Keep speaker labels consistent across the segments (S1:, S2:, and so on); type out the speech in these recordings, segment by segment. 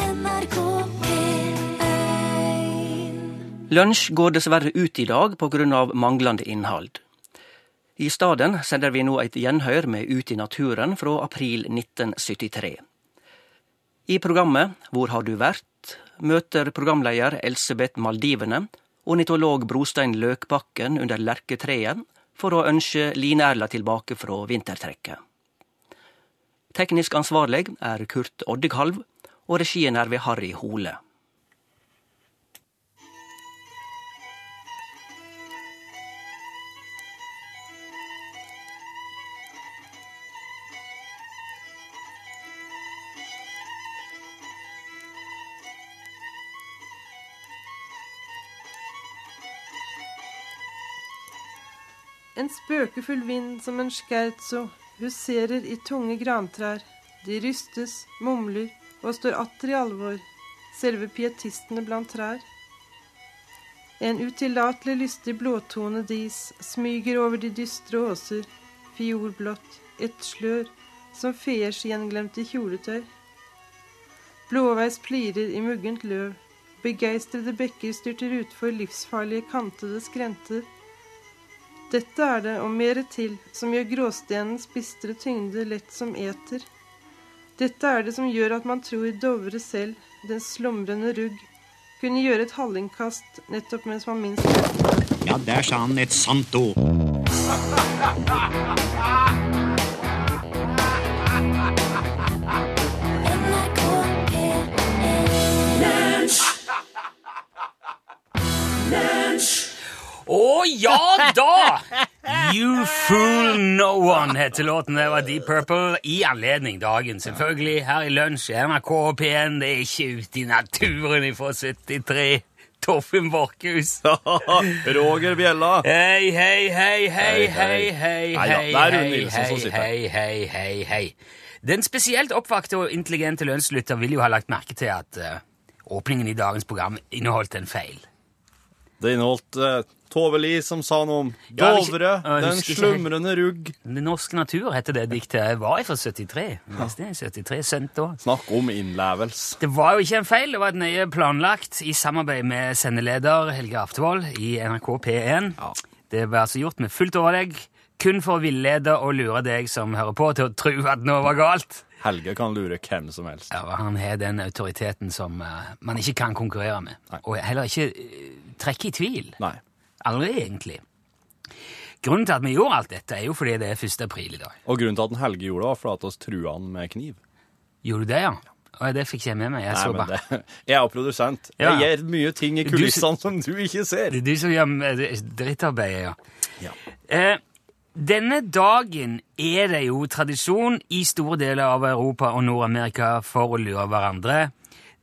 S1: NRK P1
S2: Lunsj går dessverre ut i dag pga. manglende innhold. I stedet sender vi nå et gjenhør med Ut i naturen fra april 1973. I programmet Hvor har du vært? møter programleder Elsebeth Maldivene ornitolog Brostein Løkbakken under lerketreet for å ønske Line Erla tilbake fra vintertrekket. Teknisk ansvarlig er Kurt Oddekalv, og regien er ved Harry Hole.
S3: En spøkefull vind som en scherzo huserer i tunge grantrær. De rystes, mumler og står atter i alvor, selve pietistene blant trær. En utillatelig lystig blåtone dis smyger over de dystre åser, fiolblått, et slør, som feers gjenglemte kjoletøy. Blåveis plirer i muggent løv, begeistrede bekker styrter utfor livsfarlige kantede skrenter. Dette er det, og mere til, som gjør gråstenens bistre tyngde lett som eter. Dette er det som gjør at man tror Dovre selv, den slumrende rugg, kunne gjøre et hallingkast nettopp mens man minst
S4: Ja, der sa han et sant ord.
S1: NRK P1
S5: Å ja da! You fool no one heter låten. Det var Deep Purple i anledning dagen. Selvfølgelig her i lunsj i NRK og P1. Det er ikke ute i naturen ifra 73. Torfinn Borchhus.
S6: Roger Bjella.
S5: Hei, hei, hei, hei,
S6: Hei,
S5: hei,
S6: hei.
S5: hei,
S6: Nei da,
S5: hei,
S6: det er Rune
S5: hei,
S6: Nilsen som sitter her.
S5: hei, hei, hei, hei. Den spesielt oppvakte og intelligente lønnslytter vil jo ha lagt merke til at eh, åpningen i dagens program inneholdt en feil.
S6: Det inneholdt eh, Tove Li som sa noe om
S5: Ja, jeg husker-
S6: Dovre,
S5: Ja, jeg
S6: den
S5: husker ikke helt.
S6: slumrende rugg.
S5: Norsk natur heter det diktet. Jeg var fra 73. Leste jeg i 73, sendt da.
S6: Snakk om innlevelse.
S5: Det var jo ikke en feil, det var et nøye planlagt i samarbeid med sendeleder Helge Aftervold i NRK P1. Det ble altså gjort med fullt overlegg, kun for å villede og lure deg som hører på til å tro at noe var galt.
S6: Helge kan lure hvem som helst.
S5: Ja, og Han har den autoriteten som eh, man ikke kan konkurrere med,
S6: Nei.
S5: og heller ikke eh, trekke i tvil.
S6: Nei.
S5: Aldri, egentlig. Grunnen til at vi gjorde alt dette, er jo fordi det er 1. april i dag.
S6: Og grunnen til at den Helge gjorde det, var for at oss trua han med kniv.
S5: Gjorde du det, ja? Og det fikk jeg med meg. Jeg
S6: Nei,
S5: så
S6: men
S5: bare.
S6: det, jeg er jo produsent.
S5: Ja.
S6: Jeg gjør mye ting i
S5: Du-
S6: kulissene som du ikke ser.
S5: Det er du som gjør eh, drittarbeidet, ja.
S6: Ja.
S5: Eh, denne dagen er det jo tradisjon i store deler av Europa og Nord-Amerika for å lure hverandre.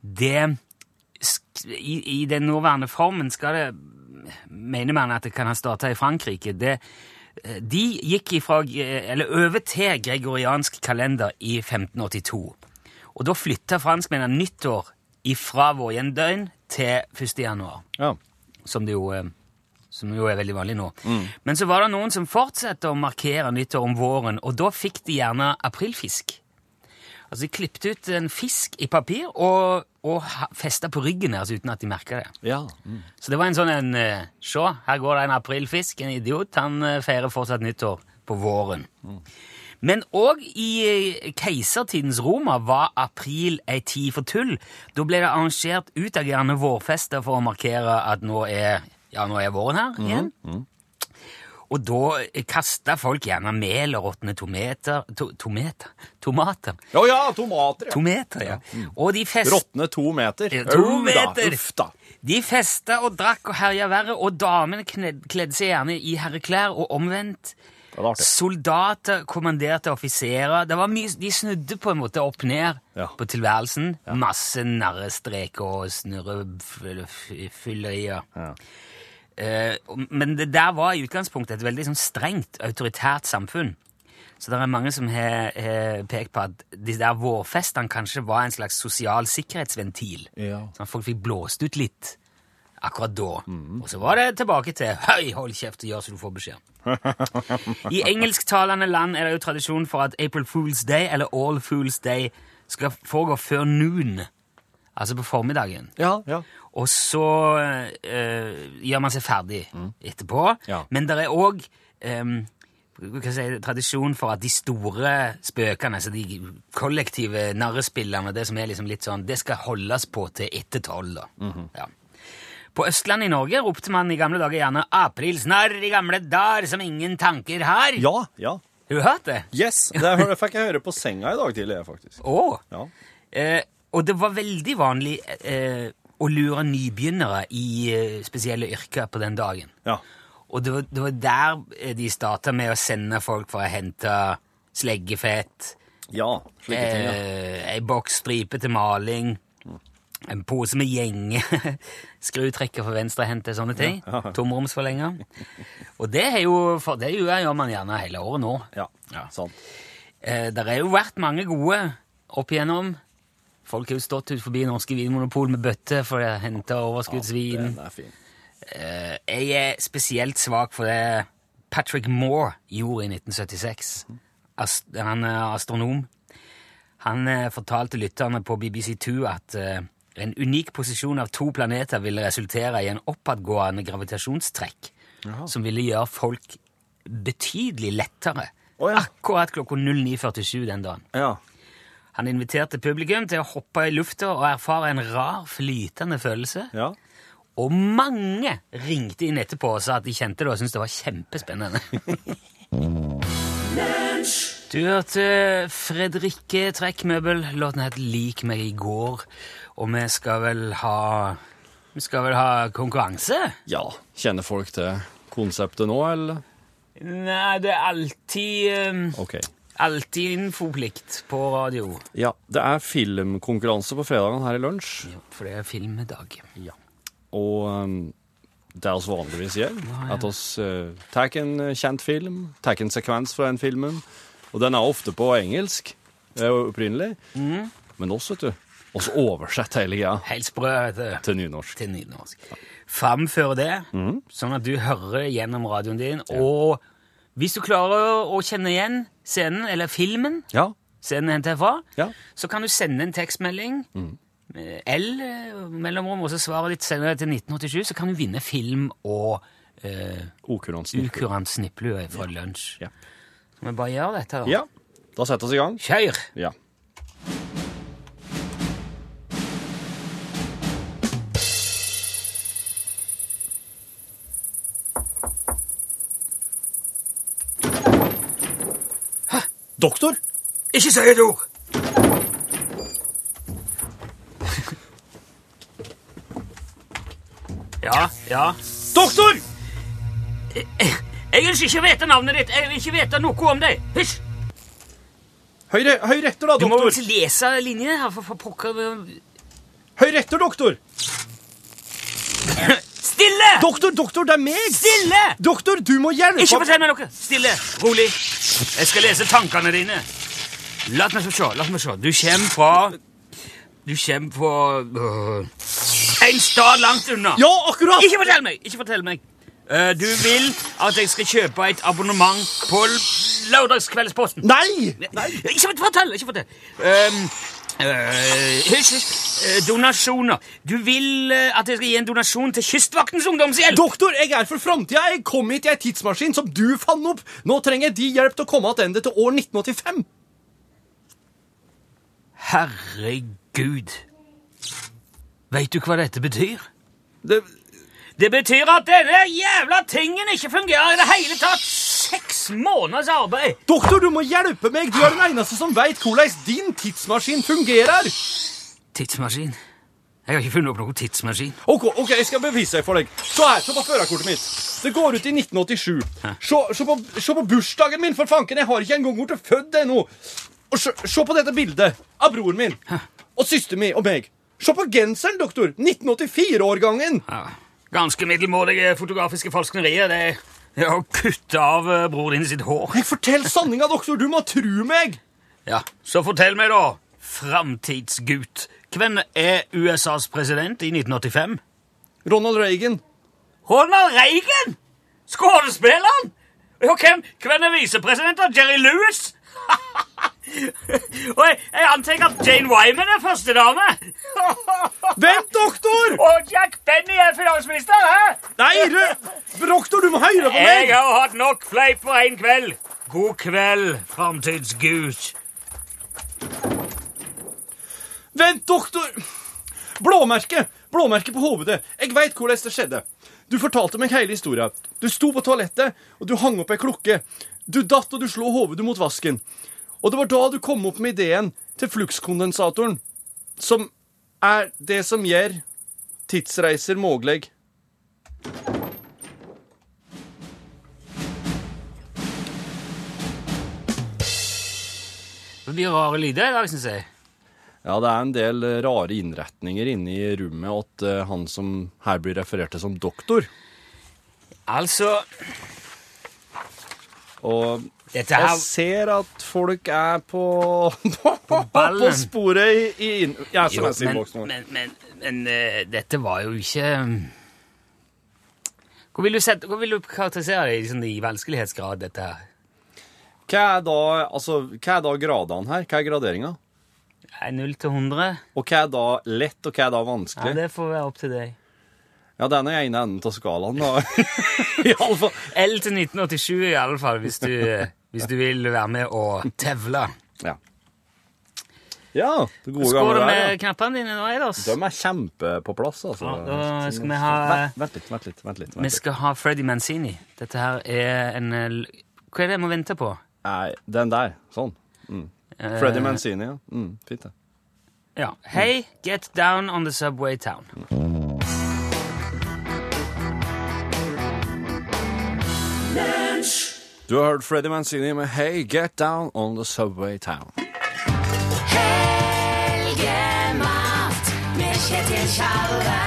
S5: Det sk- i, I den nåværende formen skal det Mener man at det kan ha starta i Frankrike. Det, eh, de gikk ifra, eh, eller over til gregoriansk kalender i 1582. Og da flytta franskmennene nyttår ifra vårjevndøgn til 1. januar
S6: Ja.
S5: som det jo, eh, som jo er veldig vanlig nå. Men så var det noen som fortsatte å markere nyttår om våren, og da fikk de gjerne aprilfisk. Altså, de klippte ut en fisk i papir og, og festa på ryggen deres uten at de merka det.
S6: ja. Mm.
S5: Så det var en sånn en eh, Se, her går det en aprilfisk, en idiot. Han eh, feirer fortsatt nyttår på våren. Men òg i eh, keisertidens Roma var april ei tid for tull. Da ble det arrangert utagerende vårfester for å markere at nå er, ja, nå er våren her igjen. Og da kasta folk gjerne mel og råtne tometer to, Tometer? Tomater?
S6: Å ja, tomater, ja.
S5: Tometer, ja. Og de fest...
S6: Råtne to meter.
S5: Ja, to
S6: Au da,
S5: meter.
S6: Uff da.
S5: De festa og drakk og herja verre, og damene kned- kledde seg gjerne i herreklær, og omvendt.
S6: Det var artig.
S5: Soldater kommanderte offiserer. Det var mye, de snudde på en måte opp ned
S6: Ja.
S5: på tilværelsen. Masse narrestreker og snurrefyllerier.
S6: Ja.
S5: Eh, men det der var i utgangspunktet et veldig sånn strengt autoritært samfunn. Så det er mange som har har pekt på at de der vårfestene kanskje var en slags sosial sikkerhetsventil.
S6: Ja.
S5: Sånn at folk fikk blåst ut litt akkurat da. Og så var det tilbake til Høy, hold kjeft og gjør som du får beskjed. om». I engelsktalende land er det jo tradisjon for at April Fool's Day eller All Fool's Day skal foregå før noon. altså på formiddagen.
S7: Ja, ja.
S5: Og så eh, gjør man seg ferdig etterpå.
S7: Mm. Ja.
S5: Men det er òg eh, tradisjon for at de store spøkene, altså de kollektive narrespillene, det som er liksom litt sånn, det skal holdes på til etter tolv. da.
S7: Mhm.
S5: ja. På Østlandet i Norge ropte man i gamle dager gjerne 'aprilsnarr i gamle dar som ingen tanker har'.
S7: Ja, ja.
S5: Har du hørt det?
S7: Yes! Det hør- fikk jeg høre på senga i dag tidlig, faktisk.
S5: Åh.
S7: Ja.
S5: Eh, og det var veldig vanlig eh, å lure nybegynnere i eh, spesielle yrker på den dagen.
S7: ja.
S5: Og det var, det var der eh, de starta med å sende folk for å hente sleggefett,
S7: Ja, slike ting, ja.
S5: eh, ei boksstripe til maling, en pose med gjenge, skrutrekker for venstrehendte, sånne ting. Tomromsforlenger. Og det er jo, for det gjør man gjerne hele året nå.
S7: Ja,
S5: Ja.
S7: sant.
S5: Eh, der er jo vært mange gode opp igjennom. Folk har jo stått ut forbi norske vinmonopol med bøtte for å hente overskuddsvin.
S7: Den er fin.
S5: Eh, jeg er spesielt svak for det Patrick Moore gjorde i 1976. Ast han er astronom. Han eh, fortalte lytterne på BBC2 at eh, en unik posisjon av to planeter ville resultere i en oppadgående gravitasjonstrekk som ville gjøre folk betydelig lettere.
S7: Å ja.
S5: Akkurat klokka 09.47 den dagen.
S7: Ja.
S5: Han inviterte publikum til å hoppe i lufta og erfare en rar, flytende følelse.
S7: ja.
S5: Og mange ringte inn etterpå og sa at de kjente det og syntes det var kjempespennende. Du hørte Fredrikke Trekkmøbel. Låten het Lik meg i går. Og vi skal vel ha Vi skal vel ha konkurranse?
S7: Ja. Kjenner folk til konseptet nå, eller?
S5: Nei, det er alltid eh,
S7: OK.
S5: Alltid infoplikt på radio.
S7: Ja, det er filmkonkurranse på fredagen her i lunsj.
S5: For det er filmdag. Ja.
S7: Og um, det vi vanligvis gjør, at vi uh, tar en eh, kjent film, tar en sekvens fra den filmen. Og den er ofte på engelsk eh, opprinnelig. Men oss, vet du, oss oversetter hele greia
S5: Helt sprø, vet du.
S7: til nynorsk.
S5: til nynorsk. Framfør det,
S7: Mm.
S5: sånn at du hører gjennom radioen din. Og hvis du klarer å kjenne igjen scenen, eller filmen,
S7: Ja.
S5: scenen henter jeg fra,
S7: Ja.
S5: så kan du sende en tekstmelding.
S7: Mm.
S5: med L eh, mellomrom, og så svaret ditt sender jeg til 1987, så kan du vinne film og eh,
S7: Okurant snikker.
S5: Ukurant snipplue fra lunsj.
S7: Ja.
S5: Så vi bare gjør dette, da.
S7: Ja. Da setter vi i gang.
S5: Kjør!
S7: Ja. Doktor?
S5: Ikke si et ord! Ja, ja.
S7: Doktor!
S5: Jeg ønsker ikke å vite navnet ditt. Jeg vil ikke vite noe om deg. Hysj!
S7: Høyre, høyre etter, da,
S5: Du må vel
S7: doktor!
S5: ikke lese linjene her, for, for pokker
S7: Høyre etter, doktor!
S5: Stille!
S7: Doktor, doktor, det er meg!
S5: Stille!
S7: Doktor, du må hjelpe
S5: Ikke fortell meg noe! Stille, rolig. Jeg skal lese tankene dine. La meg få se. La meg se. Du kommer fra Du kommer fra øh, En stad langt unna.
S7: Ja, akkurat!
S5: Ikke fortell meg! Ikke fortell meg. Eh, du vil at jeg skal kjøpe et abonnement på l- lørdagskveldsposten.
S7: Nei!
S5: Ikke fortell! Ikke fortell. Ehm, eh, hysj, hysj. Eh, donasjoner. Du vil eh, at jeg skal gi en donasjon til Kystvaktens ungdomshjelp.
S7: Doktor, jeg er for framtida. Jeg kom hit i ei tidsmaskin som du fant opp. Nå trenger de hjelp til å komme tilbake til år 1985.
S5: Herregud. Veit du hva dette betyr?
S7: Det,
S5: Det betyr at denne jævla tingen ikke fungerer i det hele tatt. Seks måneders arbeid.
S7: doktor, du må hjelpe meg. Du er den eneste som veit hvordan din tidsmaskin fungerer.
S5: Tidsmaskin. Jeg har ikke funnet opp noen tidsmaskin.
S7: Ok, ok, jeg skal bevise det for deg. Se her, se på førerkortet mitt. Det går ut i 1987. Se, se, på, se på bursdagen min, for fanken. Jeg har ikke engang vært født ennå. Og se, se på dette bildet av broren min og søsteren min og meg. Se på genseren, doktor. 1984-årgangen.
S5: Ja. Ganske middelmådige fotografiske falsknerier. Det er å kutte av eh, bror din sitt hår.
S7: Jeg forteller sanninga, doktor. Du må tru meg.
S5: Ja, Så fortell meg, da, framtidsgutt. Hvem er USAs president i 1985?
S7: Ronald Reagan.
S5: Ronald Reagan! Skuespilleren! Og hvem, hvem er visepresidenten? Jerry Lewis? Og jeg, jeg antar at Jane Wyman er første dame.
S7: Vent, doktor!
S5: Og Jack Benny er finansminister, hæ?
S7: Nei, du! Doktor, du må høre på
S5: Jeg
S7: meg!
S5: har hatt nok fleip for én kveld. God kveld, framtidsgud.
S7: Vent, doktor! Blåmerke! Blåmerke på hovedet. Jeg veit hvordan det skjedde. Du fortalte meg hele historia. Du sto på toalettet, og du hang opp ei klokke. Du datt, og du slo hovedet mot vasken. Og det var da du kom opp med ideen til flukskondensatoren, som er det som gjør tidsreiser mulig.
S5: Det blir rare lyder i dag, syns jeg.
S7: Ja, det er en del eh, rare innretninger inne i rommet at eh, han som her blir referert til som doktor.
S5: Altså,
S7: Og
S5: dette
S7: jeg
S5: her
S7: ser at folk er på På,
S5: ballen.
S7: på sporet i, i inn- ja,
S5: Jo,
S7: som jeg sier i
S5: men,
S7: boksen vår.
S5: men, men, men eh, dette var jo ikke mm. Hvor vil du, sette, hvor vil du karakterisere det i, sånn, i vanskelighetsgrad, dette her?
S7: Hva er da, altså, hva er da gradene her? Hva er graderinga?
S5: Nei, 0 til 100?
S7: Og hva er da lett, og hva er da
S5: Ja,
S7: vanskelig?
S5: det får være opp til deg.
S7: Ja, det er den ene enden av skalaen, da. I alle fall.
S5: L til 1987 i alle fall, hvis du, eh, hvis du vil være med og tevle.
S7: Ja. ja. Det gode
S5: Skål
S7: gamle der.
S5: med
S7: ja.
S5: knappene dine nå, Eiders.
S7: De er kjempe på plass, altså.
S5: Ja, da skal vi ha-
S7: Vent- Vent litt, vent litt. vent litt,
S5: Vi
S7: vent litt.
S5: skal ha Freddy Manzini. Dette her er en eh, l- Hva er det jeg må vente på?
S7: Nei, den der. Sånn.
S5: Eh,
S7: Freddy Mancini, ja. Mm, fint, det.
S5: Ja. Hey, get down on the subway town.
S7: Du har hørt Freddy Mancini med Hey, Get Down on the Subway Town.
S8: Helgemat med Kjetil Tjalve.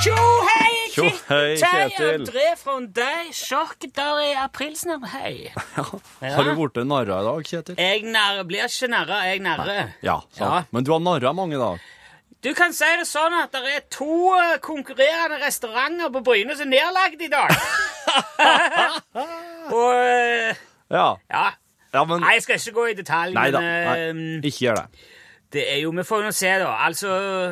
S5: Tjo hei,
S7: Tjo, hei, Kjetil.
S5: André fra deg. Sjokk der i aprilsnarr, hei.
S7: Har du blitt narra i dag, Kjetil?
S5: Jeg narre, blir ikke narra, jeg narrer.
S7: Ja, sant.
S5: Ja.
S7: Men du har narra mange, da.
S5: Du kan si det sånn at det er to eh, konkurrerende restauranter på Bryne som er nedlagt i dag. Og eh,
S7: Ja.
S5: ja.
S7: ja men
S5: Nei, jeg skal ikke gå i detalj,
S7: Nei da.
S5: men eh,
S7: Nei, ikke gjør det.
S5: Det er jo, Vi får jo nå se, da. Altså,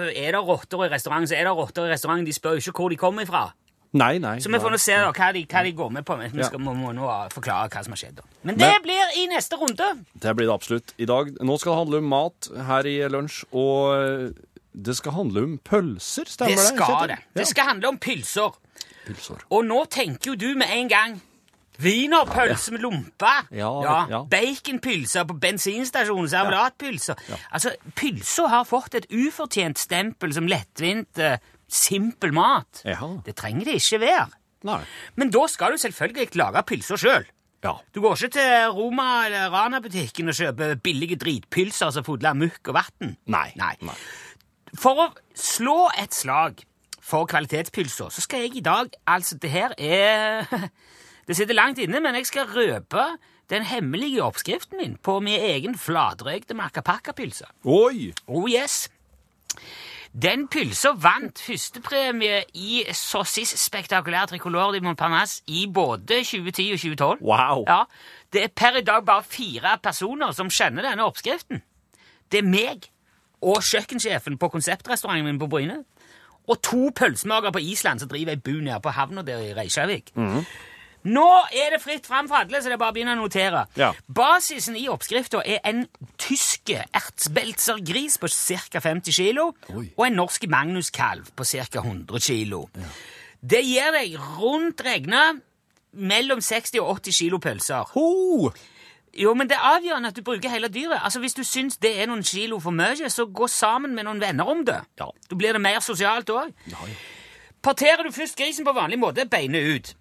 S5: Er det rotter i restaurant, så er det rotter i restaurant. De spør jo ikke hvor de kommer ifra.
S7: Nei, nei.
S5: Så vi får nå se da, hva de, hva de går med på. Men vi
S7: Ja.
S5: skal, må, må nå forklare hva som har skjedd. da. Men det
S7: Men-
S5: blir i neste runde.
S7: Det blir det absolutt i dag. Nå skal det handle om mat her i lunsj, og eh, det skal handle om pølser,
S5: Det
S7: stemmer det?
S5: skal
S7: Kjetil?
S5: det. Det skal handle om pølser.
S7: Ja, pølser.
S5: Og nå tenker jo du med en gang Wienerpølse med lompe.
S7: Ja, ja.
S5: Baconpølser på bensinstasjonen. Servelatpølser. Altså, pølsa har fått et ufortjent stempel som lettvint, eh, simpel mat.
S7: Ja.
S5: Det trenger det ikke være.
S7: Nei.
S5: Men da skal du selvfølgelig lage pølser sjøl.
S7: Ja.
S5: Du går ikke til Roma- eller Rana-butikken og kjøper billige dritpølser som fodler mukk og vann.
S7: Nei.
S5: Nei. For å slå et slag for kvalitetspølser, så skal jeg i dag Altså, det her er Det sitter langt inne, men jeg skal røpe den hemmelige oppskriften min på min egen flatrøykte macapaca-pølse.
S7: Oi!
S5: Oh yes! Den pølsa vant førstepremie i Sossis spektakulær tricolor de Montparnasse i både 2010 og 2012.
S7: Wow.
S5: Ja, Det er per i dag bare fire personer som kjenner denne oppskriften. Det er meg og kjøkkensjefen på konseptrestauranten min på Bryne. Og to pølsemagere på Island som driver ei bu nede på havna der i Reykjavik.
S7: Mhm.
S5: Nå er det fritt fram for alle, så det er bare å begynne å notere.
S7: Ja.
S5: Basisen i oppskrifta er en tysk ertsbeltzergris på ca. 50 kilo og en norsk magnuskalv på ca. 100 kilo. Det gir deg rundt regna mellom 60 og 80 kilo pølser.
S7: Ho!
S5: Jo, men det er avgjørende at du bruker hele dyret. Altså, Hvis du syns det er noen kilo for mye, så gå sammen med noen venner om det.
S7: Ja.
S5: Da blir det mer sosialt òg. Parterer du først grisen på vanlig måte, beinet ut.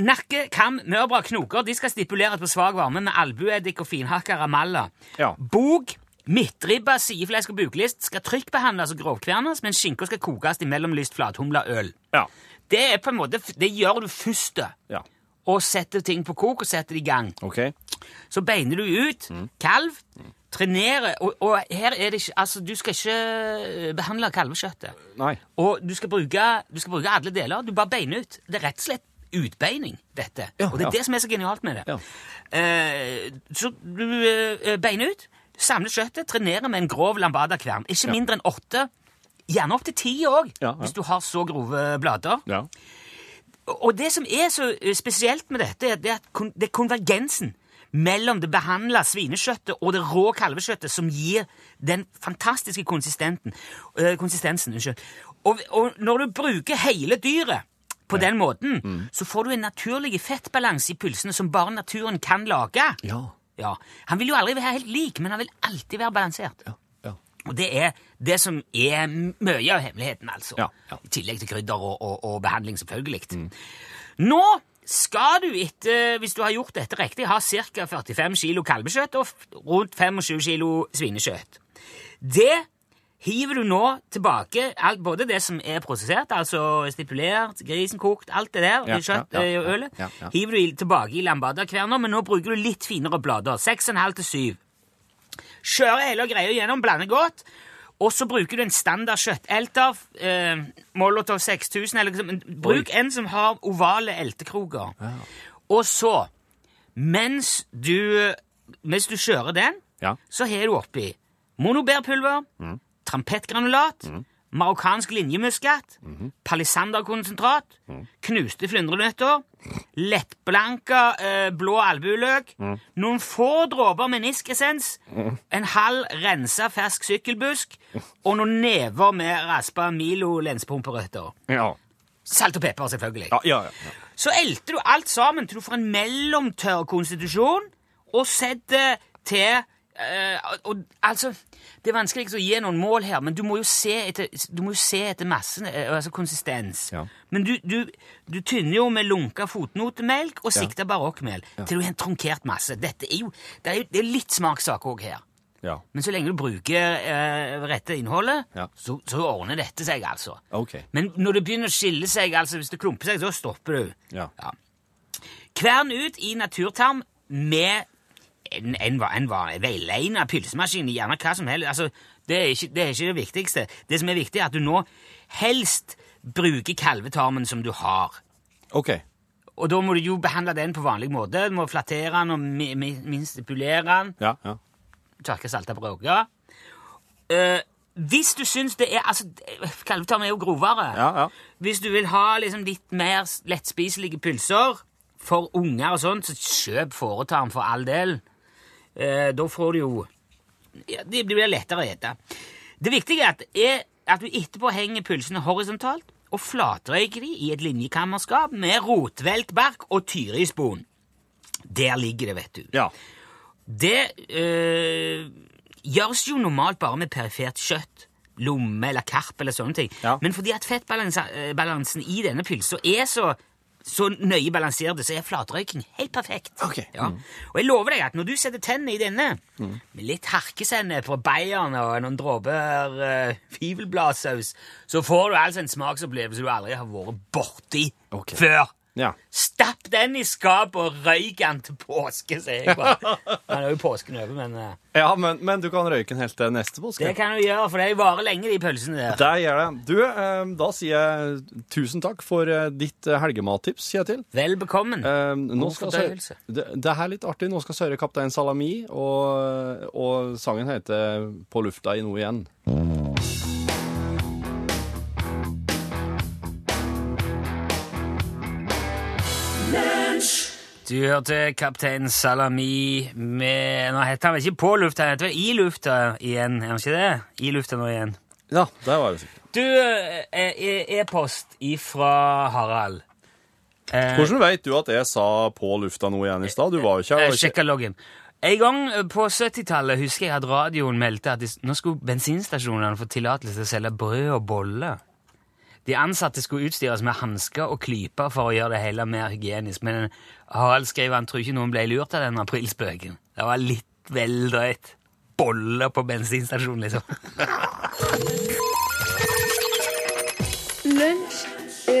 S5: Nakke, kam, mørbra, knoker de skal stipuleres på svak varme med albueddik og finhakka ramalla.
S7: Ja.
S5: Bog, midtribba, sideflesk og buklist skal trykkbehandles og grovkvernes, mens skinka skal kokes i mellomlyst flathumla øl.
S7: Ja.
S5: Det er på en måte, det gjør du først, da.
S7: ja.
S5: og setter ting på kok og setter det i gang.
S7: OK.
S5: Så beiner du ut,
S7: Mm.
S5: kalv, trenerer, og, og her er det ikke, altså du skal ikke eh, behandle kalvekjøttet.
S7: Nei.
S5: Og du skal, bruke, du skal bruke alle deler, du bare beiner ut. Det er rett og slett utbeining, dette.
S7: Ja,
S5: og det er
S7: ja.
S5: det som er så genialt med det.
S7: Ja.
S5: Eh, så du eh, beiner ut, samler kjøttet, trenerer med en grov lambada-kvern. Ikke mindre enn åtte Gjerne opptil ti òg,
S6: Ja, ja.
S5: hvis du har så grove blader.
S6: Ja.
S5: Og det som er så eh, spesielt med dette, er- det er at kon- det er konvergensen mellom det behandla svinekjøttet og det rå kalvekjøttet som gir den fantastiske konsistenten, eh, konsistensen. Unnskyld. Og, og når du bruker hele dyret på den måten,
S6: Mm.
S5: så får du en naturlig fettbalanse i pulsene som bare naturen kan lage.
S6: Ja.
S5: Ja. Han vil jo aldri være helt lik, men han vil alltid være balansert.
S6: ja.
S5: Og det er det som er mye av hemmeligheten, altså.
S6: Ja, ja. Mm.
S5: I tillegg til krydder og, og, og behandling, selvfølgelig. Nå skal du etter, hvis du har gjort dette riktig, ha ca. 45 kilo kalvekjøtt og f- rundt 25 kilo svinekjøtt. Det hiver du nå tilbake, alt, både det som er prosessert, altså stipulert, grisen kokt, alt det der,
S6: Ja,
S5: kjøtt
S6: ja, ja,
S5: og ølet,
S6: ja, ja.
S5: hiver du i- tilbake i lambadakverner, men nå bruker du litt finere blader, 6,5 til 7. Kjører hele greia gjennom, blander godt, og så bruker du en standard kjøttelter, eh, Molotov 6000, eller liksom, bruk en som har ovale eltekroker. Og så, mens du, mens du kjører den,
S6: Ja.
S5: så har du oppi monobærpulver, trampettgranulat, marokkansk linjemuskat, palisanderkonsentrat, knuste flyndrenøtter, lettblanka eh, blå albueløk, noen få dråper meniskessens, en halv rensa fersk sykkelbusk og noen never med raspa Milo lenspumperøtter.
S6: Ja.
S5: Salt og pepper, selvfølgelig.
S6: Ja, ja, ja.
S5: Så elter du alt sammen til du får en mellomtørr konstitusjon, og setter til eh, og, og, Altså, det er vanskelig å gi noen mål her, men du må jo se etter, du må jo se etter massen, eh, altså konsistens.
S6: Ja.
S5: Men du, du, du tynner jo med lunka fotnotemelk og sikta barokkmel til du har en trunkert masse. Dette er jo, det er jo det er litt smakssak òg her.
S6: ja.
S5: Men så lenge du bruker eh, rette innholdet,
S6: Ja.
S5: så, så ordner dette seg, altså.
S6: Ok.
S5: Men når det begynner å skille seg, altså hvis det klumper seg, så stopper du.
S6: Ja.
S5: Kvern ut i naturtarm med en, en, va- en, va- en velegnet pylsemaskin, gjerne hva som helst. Altså, det, er ikke, det er ikke det viktigste. Det som er viktig, er at du nå helst bruker kalvetarmen som du har.
S6: Ok.
S5: Og da må du jo behandle den på vanlig måte. Du må flattere den og mi, mi, minstipulere den
S6: Ja, ja.
S5: tørke salta bråker. Eh, hvis du syns det er altså, Kalvetarm er jo grovere.
S6: Ja, ja.
S5: Hvis du vil ha liksom, litt mer s- lettspiselige pølser for unger og sånt, så kjøp fåretarm for all del. Eh, da får du jo ja, Det blir lettere å ete. Det viktige er at, er at du etterpå henger pølsene horisontalt og flatrøyker de i et linjekammerskap med rotveltbark og tyrispon. Der ligger det, vet du.
S6: Ja.
S5: Det øh, gjøres jo normalt bare med perifert kjøtt. Lomme eller karp eller sånne ting.
S6: Ja.
S5: Men fordi at fettbalansen i denne pylsa er så, så nøye balansert, så er flatrøyking helt perfekt.
S6: Ok. Mm.
S5: Ja. Og jeg lover deg at når du setter tennene i denne, med litt harkesennep fra Bayern og noen dråper uh, fivelbladsaus, så får du altså en smaksopplevelse du aldri har vært borti
S6: Ok.
S5: før.
S6: Ja.
S5: Stapp den i skapet og røyk den til påske, sier jeg bare. Han er jo påsken over, men eh,
S6: ja men, men du kan røyke den helt til neste påske.
S5: det kan du gjøre, for de varer lenge, de pølsene der.
S6: Der gjør det. Du, eh, da sier jeg tusen takk for eh, ditt eh, helgemattips, Kjetil.
S5: Vel bekommen.
S6: Eh, Nå
S5: God
S6: skal
S5: fordøyelse.
S6: Søre- det, det her er litt artig. Nå skal Søre Kaptein Salami, og, og sangen heter På lufta i noe igjen.
S5: Du hørte kaptein Salami med Nå heter han vel ikke på lufta, han heter vel i lufta igjen, er han ikke det? I lufta nå igjen.
S6: Ja, der var det sikkert.
S5: Du, eh, eh, e-post ifra Harald. Eh,
S6: Hvordan vet du at jeg sa På lufta noe igjen i stad? Du var jo ikke her.
S5: Jeg
S6: var ikke-
S5: sjekka loggen. En gang eh, på 70-tallet husker jeg at radioen meldte at de, s- nå skulle bensinstasjonene få tillatelse til å selge brød og boller. De ansatte skulle utstyres med hansker og klyper for å gjøre det hele mer hygienisk, men Harald skrev han tror ikke noen ble lurt av den aprilspøken. Det var litt vel drøyt. Boller på bensinstasjonen, liksom.
S9: Lunsj,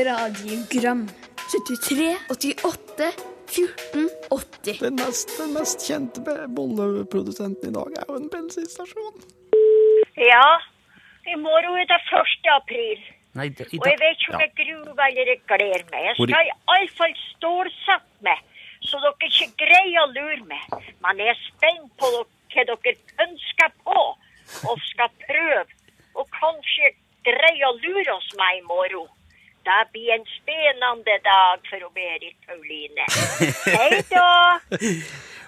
S9: radiogram 73, 88, 14, 80
S6: Den mest, den mest kjente be- bolleprodusenten i dag er jo en bensinstasjon.
S10: Ja, i morgen er det 1. april.
S5: Nei, d- i
S10: Og jeg
S5: dag,
S10: vet ikke om jeg gruer eller jeg gleder meg. Jeg
S6: Hvor i-
S10: skal iallfall stålsette meg, så dere ikke greier å lure meg. Men jeg er spent på dere- hva dere ønsker på, og skal prøve. Og kanskje jeg greier grei å lure oss meg i morgen. Det blir en spennende dag for Berit Pauline. Hei da!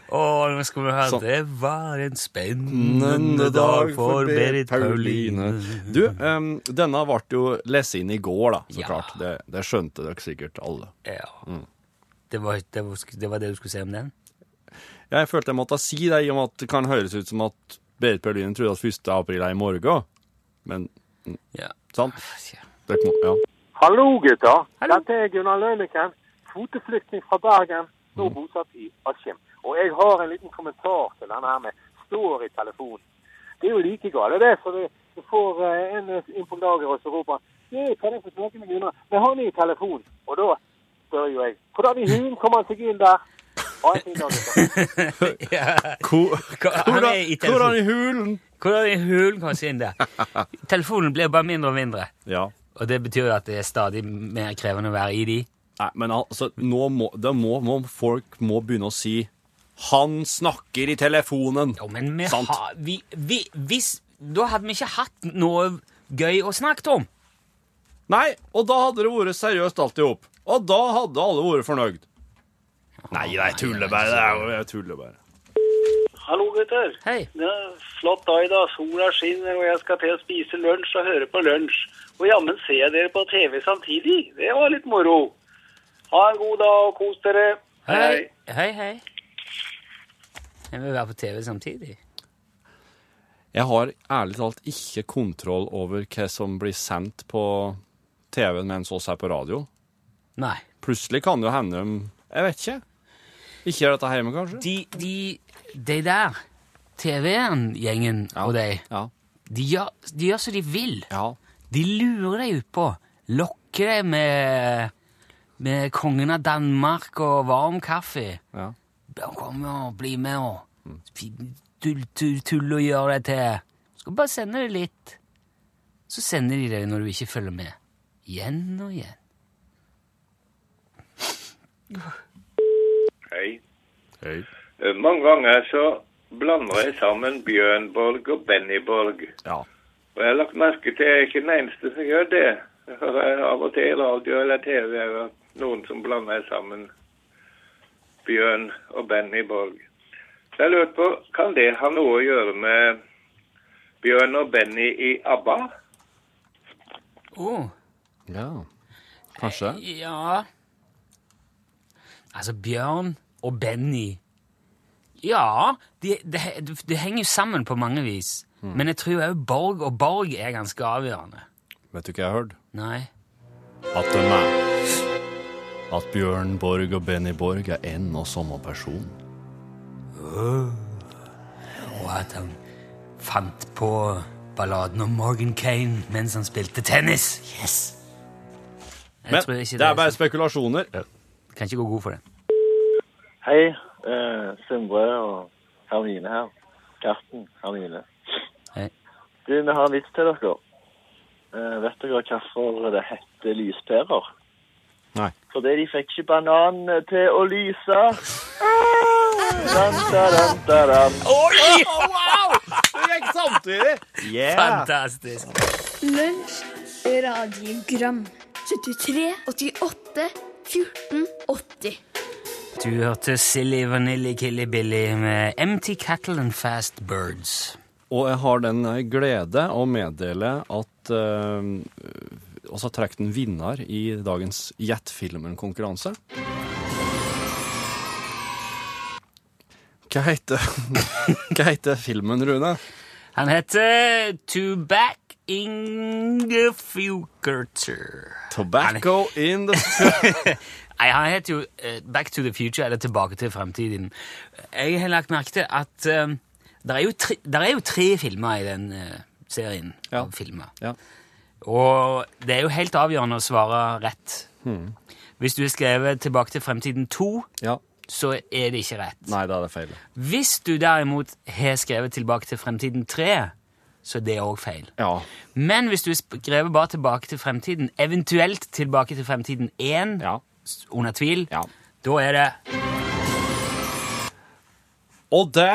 S5: Å, nå skal vi høre.
S7: Sånn.
S5: Det var en spennende dag for Berit Pauline.
S7: Du, em, denne ble jo lest inn i går, da, så
S5: Ja.
S7: klart. Det, det skjønte dere sikkert alle.
S5: Ja. Det, var, det, var, det var det du skulle si om den?
S7: Jeg følte jeg måtte si det, i og med at det kan høres ut som at Berit Pauline trodde at 1. april er i morgen. Men
S5: Ja.
S7: sant?
S5: Ah,
S7: Dere må, ja.
S11: Hallo, gutter. Dette er Gunnar Lønniken, kvoteflyktning fra Bergen, nå bosatt i Askim. Og jeg har en liten kommentar til denne her med står i telefonen. Det er jo like galt, det. For vi vi får eh, en inn på lager og så roper han, «Hei, kan jeg få snakke med Gunnar? Men han er i telefonen. Og da spør jo jeg hvordan i hulen kom han seg inn der? Ha en fin dag, gutter.
S7: Hvor,
S5: Han er i
S7: hvordan
S5: telefonen.
S7: i hulen?
S5: Hvordan i hulen kan man si inn der? Telefonen blir bare mindre og mindre.
S7: Ja.
S5: Og det betyr jo at det er stadig mer krevende å være i de.
S7: Nei, men altså, nå må, det må, må folk må begynne å si Han snakker i telefonen.
S5: Jo, men vi
S7: Sant.
S5: har vi, vi, Hvis Da hadde vi ikke hatt noe gøy å snakke om.
S7: Nei, og da hadde det vært seriøst alt i hop. Og da hadde alle vært fornøyd. Nei, nei, tuller bare. Det er jo jeg tuller bare.
S11: Hallo, gutter.
S5: Hei.
S11: Det er flott dag i dag. Sola skinner, og jeg skal til å spise lunsj og høre på lunsj. Og jammen ser jeg dere på TV samtidig. Det var litt moro. Ha en god dag og kos dere.
S5: Hei, hei. hei. Jeg vil være på TV samtidig.
S7: Jeg har ærlig talt ikke kontroll over hva som blir sendt på TV-en mens oss er på radio.
S5: Nei.
S7: Plutselig kan det jo hende om Jeg vet ikke. Ikke er dette hjemme, kanskje?
S5: De, de, de der, TV-gjengen og de,
S7: Ja.
S5: de gjør, de gjør som de vil.
S7: ja.
S5: De lurer deg utpå. Lokker deg med, med kongen av Danmark og varm kaffe.
S7: Ja.
S5: Da Kom og bli med og fin- tull, tull, tull og gjør deg til. Skal bare sende deg litt. Så sender de deg når du ikke følger med. Igjen og igjen.
S11: Hei. Eh,
S7: Hei.
S11: Mange ganger så blander jeg sammen Bjørnborg og Bennyborg.
S7: Ja.
S11: Og jeg har lagt merke til at jeg er ikke den eneste som gjør det. Jeg hører av og til i radio eller TV eller noen som blander sammen Bjørn og Benny Borg. Så jeg lurte på, kan det ha noe å gjøre med Bjørn og Benny i ABBA?
S5: Oh.
S7: ja. Kanskje.
S5: Ja Altså, Bjørn og Benny Ja, det de, de, de henger jo sammen på mange vis. Men jeg tror òg Borg og Borg er ganske avgjørende.
S7: Vet du hva jeg har hørt?
S5: Nei.
S7: At de er At Bjørn Borg og Benny Borg er en og samme person.
S5: Og at han fant på balladen om Morgan Kane mens han spilte tennis. Yes! Jeg
S7: Men
S5: tror ikke
S7: det er bare
S5: så-
S7: spekulasjoner.
S5: Kan ikke gå god for det.
S11: Hei, eh, Sindre og Hermine her. Karsten, Hermine.
S5: Hei.
S11: Du, vi har en vits til dere. Eh, vet dere hvorfor det heter lyspærer?
S7: Nei.
S11: Fordi de fikk ikke bananene til å lyse. Dan, da, dan, da, dan.
S7: Det gikk samtidig! Yeah!
S5: Fantastisk!
S12: Lunsj, radiogram 73 88 14 80.
S5: Du hørte Silly Vanilli Killy Billy med Empty Cattle and Fast Birds.
S7: Og jeg har den glede å meddele at uh, også har trukket en vinner i dagens Jet-filmen-konkurranse. Hva heter, hva heter filmen, Rune?
S5: Han heter Toback Ingefugerter.
S7: Tobacco in the
S5: Nei, han heter jo eh, Back to the Future, eller Tilbake til fremtiden. Jeg har lagt merke til at eh, der, er jo tre, der er jo tre filmer i den eh, serien.
S7: Ja.
S5: av filmer.
S7: Ja.
S5: Og det er jo helt avgjørende å svare rett.
S7: Hmm.
S5: Hvis du har skrevet Tilbake til fremtiden 2,
S7: ja.
S5: så er det ikke rett.
S7: Nei, da er det feil.
S5: Hvis du derimot har skrevet Tilbake til fremtiden 3, så er det òg feil.
S7: Ja.
S5: Men hvis du har skrevet bare Tilbake til fremtiden, eventuelt Tilbake til fremtiden 1,
S7: ja.
S5: under tvil,
S7: Ja.
S5: da er det
S7: Og det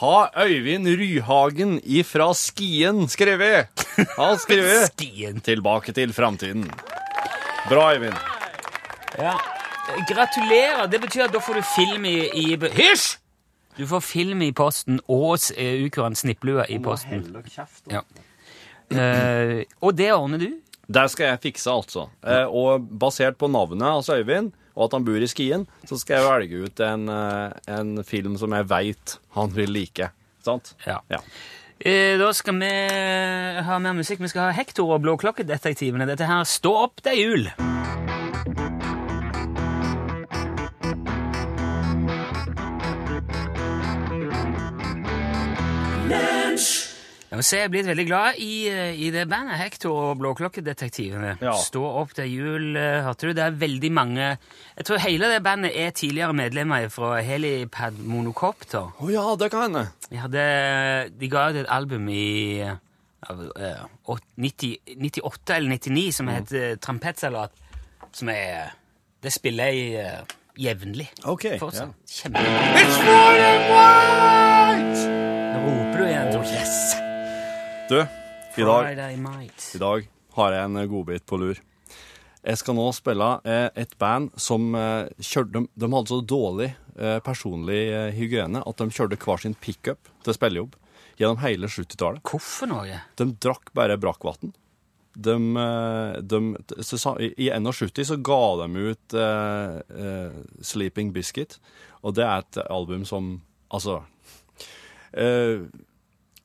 S7: har Øyvind Ryhagen ifra Skien skrevet. Han skrevet
S5: Stien.
S7: Tilbake til framtiden. Bra, Øyvind.
S5: Ja. Eh, Gratulerer. Det betyr at da får du film i, i be- Hysj! Du får film i posten og s- eh, ukuren Snipplua i posten. Ja. Eh, og det ordner du?
S7: Det skal jeg fikse, altså. Eh, og basert på navnet hans Øyvind, og at han bor i Skien, så skal jeg velge ut en, eh, en film som jeg veit han vil like. Sant?
S5: Ja.
S7: Ja.
S5: Eh, da skal vi ha mer musikk. Vi skal ha Hector og Blåklokkedetektivene. Dette her Stå opp, det er jul! Jeg må si jeg er blitt veldig glad i, eh, i det bandet Hector og Blåklokkedetektivene.
S7: Ja.
S5: Stå opp, det er jul, eh, hørte du? Det er veldig mange Jeg tror hele det bandet er tidligere medlemmer fra Helipad Monocopter.
S7: Å ja, det kan hende.
S5: Jeg hadde, de ga ut et album i eh, eh, åt- 90, 98 eller 99 som
S7: Mm.
S5: het eh, Trampetsalat. Som er Det spiller jeg eh, jevnlig.
S7: Ok, ja.
S5: Fortsatt. Kjempe... Nå roper du igjen. Oh, yes!
S7: Du, i dag,
S5: Friday night.
S7: i dag har jeg en godbit på lur. Jeg skal nå spille eh, et band som eh, kjørte de, de hadde så dårlig eh, personlig eh, hygiene at de kjørte hver sin pickup til spillejobb gjennom hele 70-tallet.
S5: Hvorfor noe?
S7: De drakk bare brakkvann. De, eh, de, så, sa- I i 71 så ga de ut eh, eh, 'Sleeping Biscuit', og det er et album som Altså eh,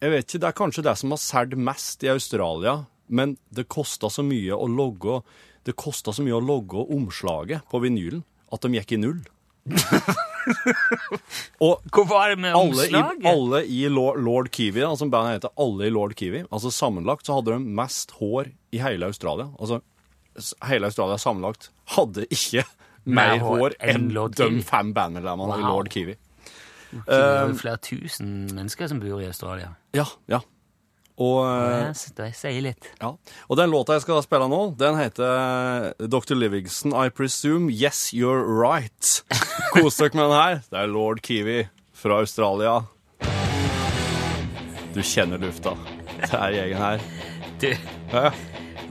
S7: Jeg vet ikke, det er kanskje det som har solgt mest i Australia, men det kosta så mye å logge Det kosta så mye å logge omslaget på vinylen at de gikk i null. og
S5: Hvor var det med
S7: alle i,
S5: omslaget?
S7: alle i Lord, Lord Kiwi, da, som bandet heter Alle i Lord Kiwi, altså sammenlagt så hadde de mest hår i hele Australia. Altså s- hele Australia sammenlagt hadde ikke mer
S5: Mer hår
S7: hår enn
S5: enn Lord
S7: de
S5: Kiwi.
S7: fem bandmedlemmene i
S5: Wow.
S7: Lord Kiwi. Eh,
S5: det er jo flere tusen mennesker som bor i Australia.
S7: Ja, ja. Og, eh,
S5: Det s- det sier litt.
S7: ja. og den låta jeg skal spille nå, den heter Dr. Livingston, I presume. Yes, you're right. Kos dere med den her. Det er Lord Kiwi fra Australia. Du kjenner lufta. Det er gjengen her.
S5: Du,
S7: Ja,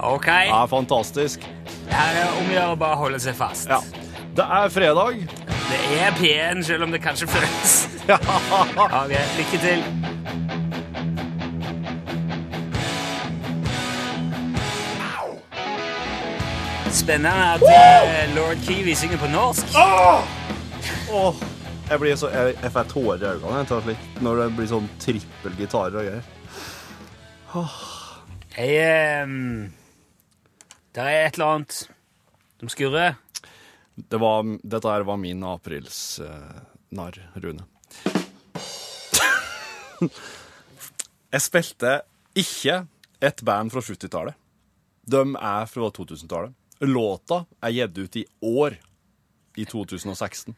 S5: OK.
S7: Det er fantastisk.
S5: Her er det om å gjøre å bare holde seg fast.
S7: Ja. Det er fredag.
S5: Det er P1, selv om det kanskje føles. Ok, lykke til. Spennende at eh, Lord Kiwi synger på norsk.
S7: Åh, jeg blir så, jeg, jeg får tårer i øynene jeg tar slik, når det blir sånn trippelgitarer og greier.
S5: Jeg, det er et eller annet som skurrer.
S7: Det var, dette her var min aprilsnarr, Rune. jeg spilte ikke et band fra 70-tallet. De er fra 2000-tallet. Låta er gitt ut i år, i 2016.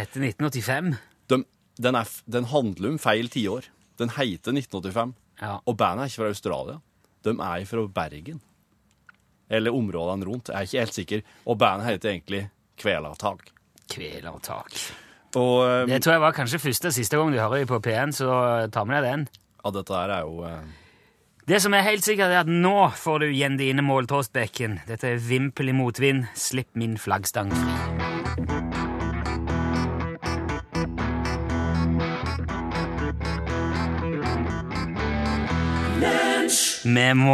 S5: Etter 1985.
S7: De, den, er, f- den handler om feil tiår. Den heter 1985.
S5: Ja.
S7: Og bandet er ikke fra Australia. De er fra Bergen. Eller områdene rundt. Jeg er ikke helt sikker. Og bandet heter egentlig Kvelertak.
S5: Kvelertak.
S7: Og eh,
S5: Det tror jeg var kanskje første og siste gang du hører på P1, så ta med deg den.
S7: ja, dette her er jo eh,
S5: Det som er helt sikkert er at nå får du igjen dine mål, Tåstbekken. Dette er vimpel i motvind. Slipp min flaggstang fri. Vi må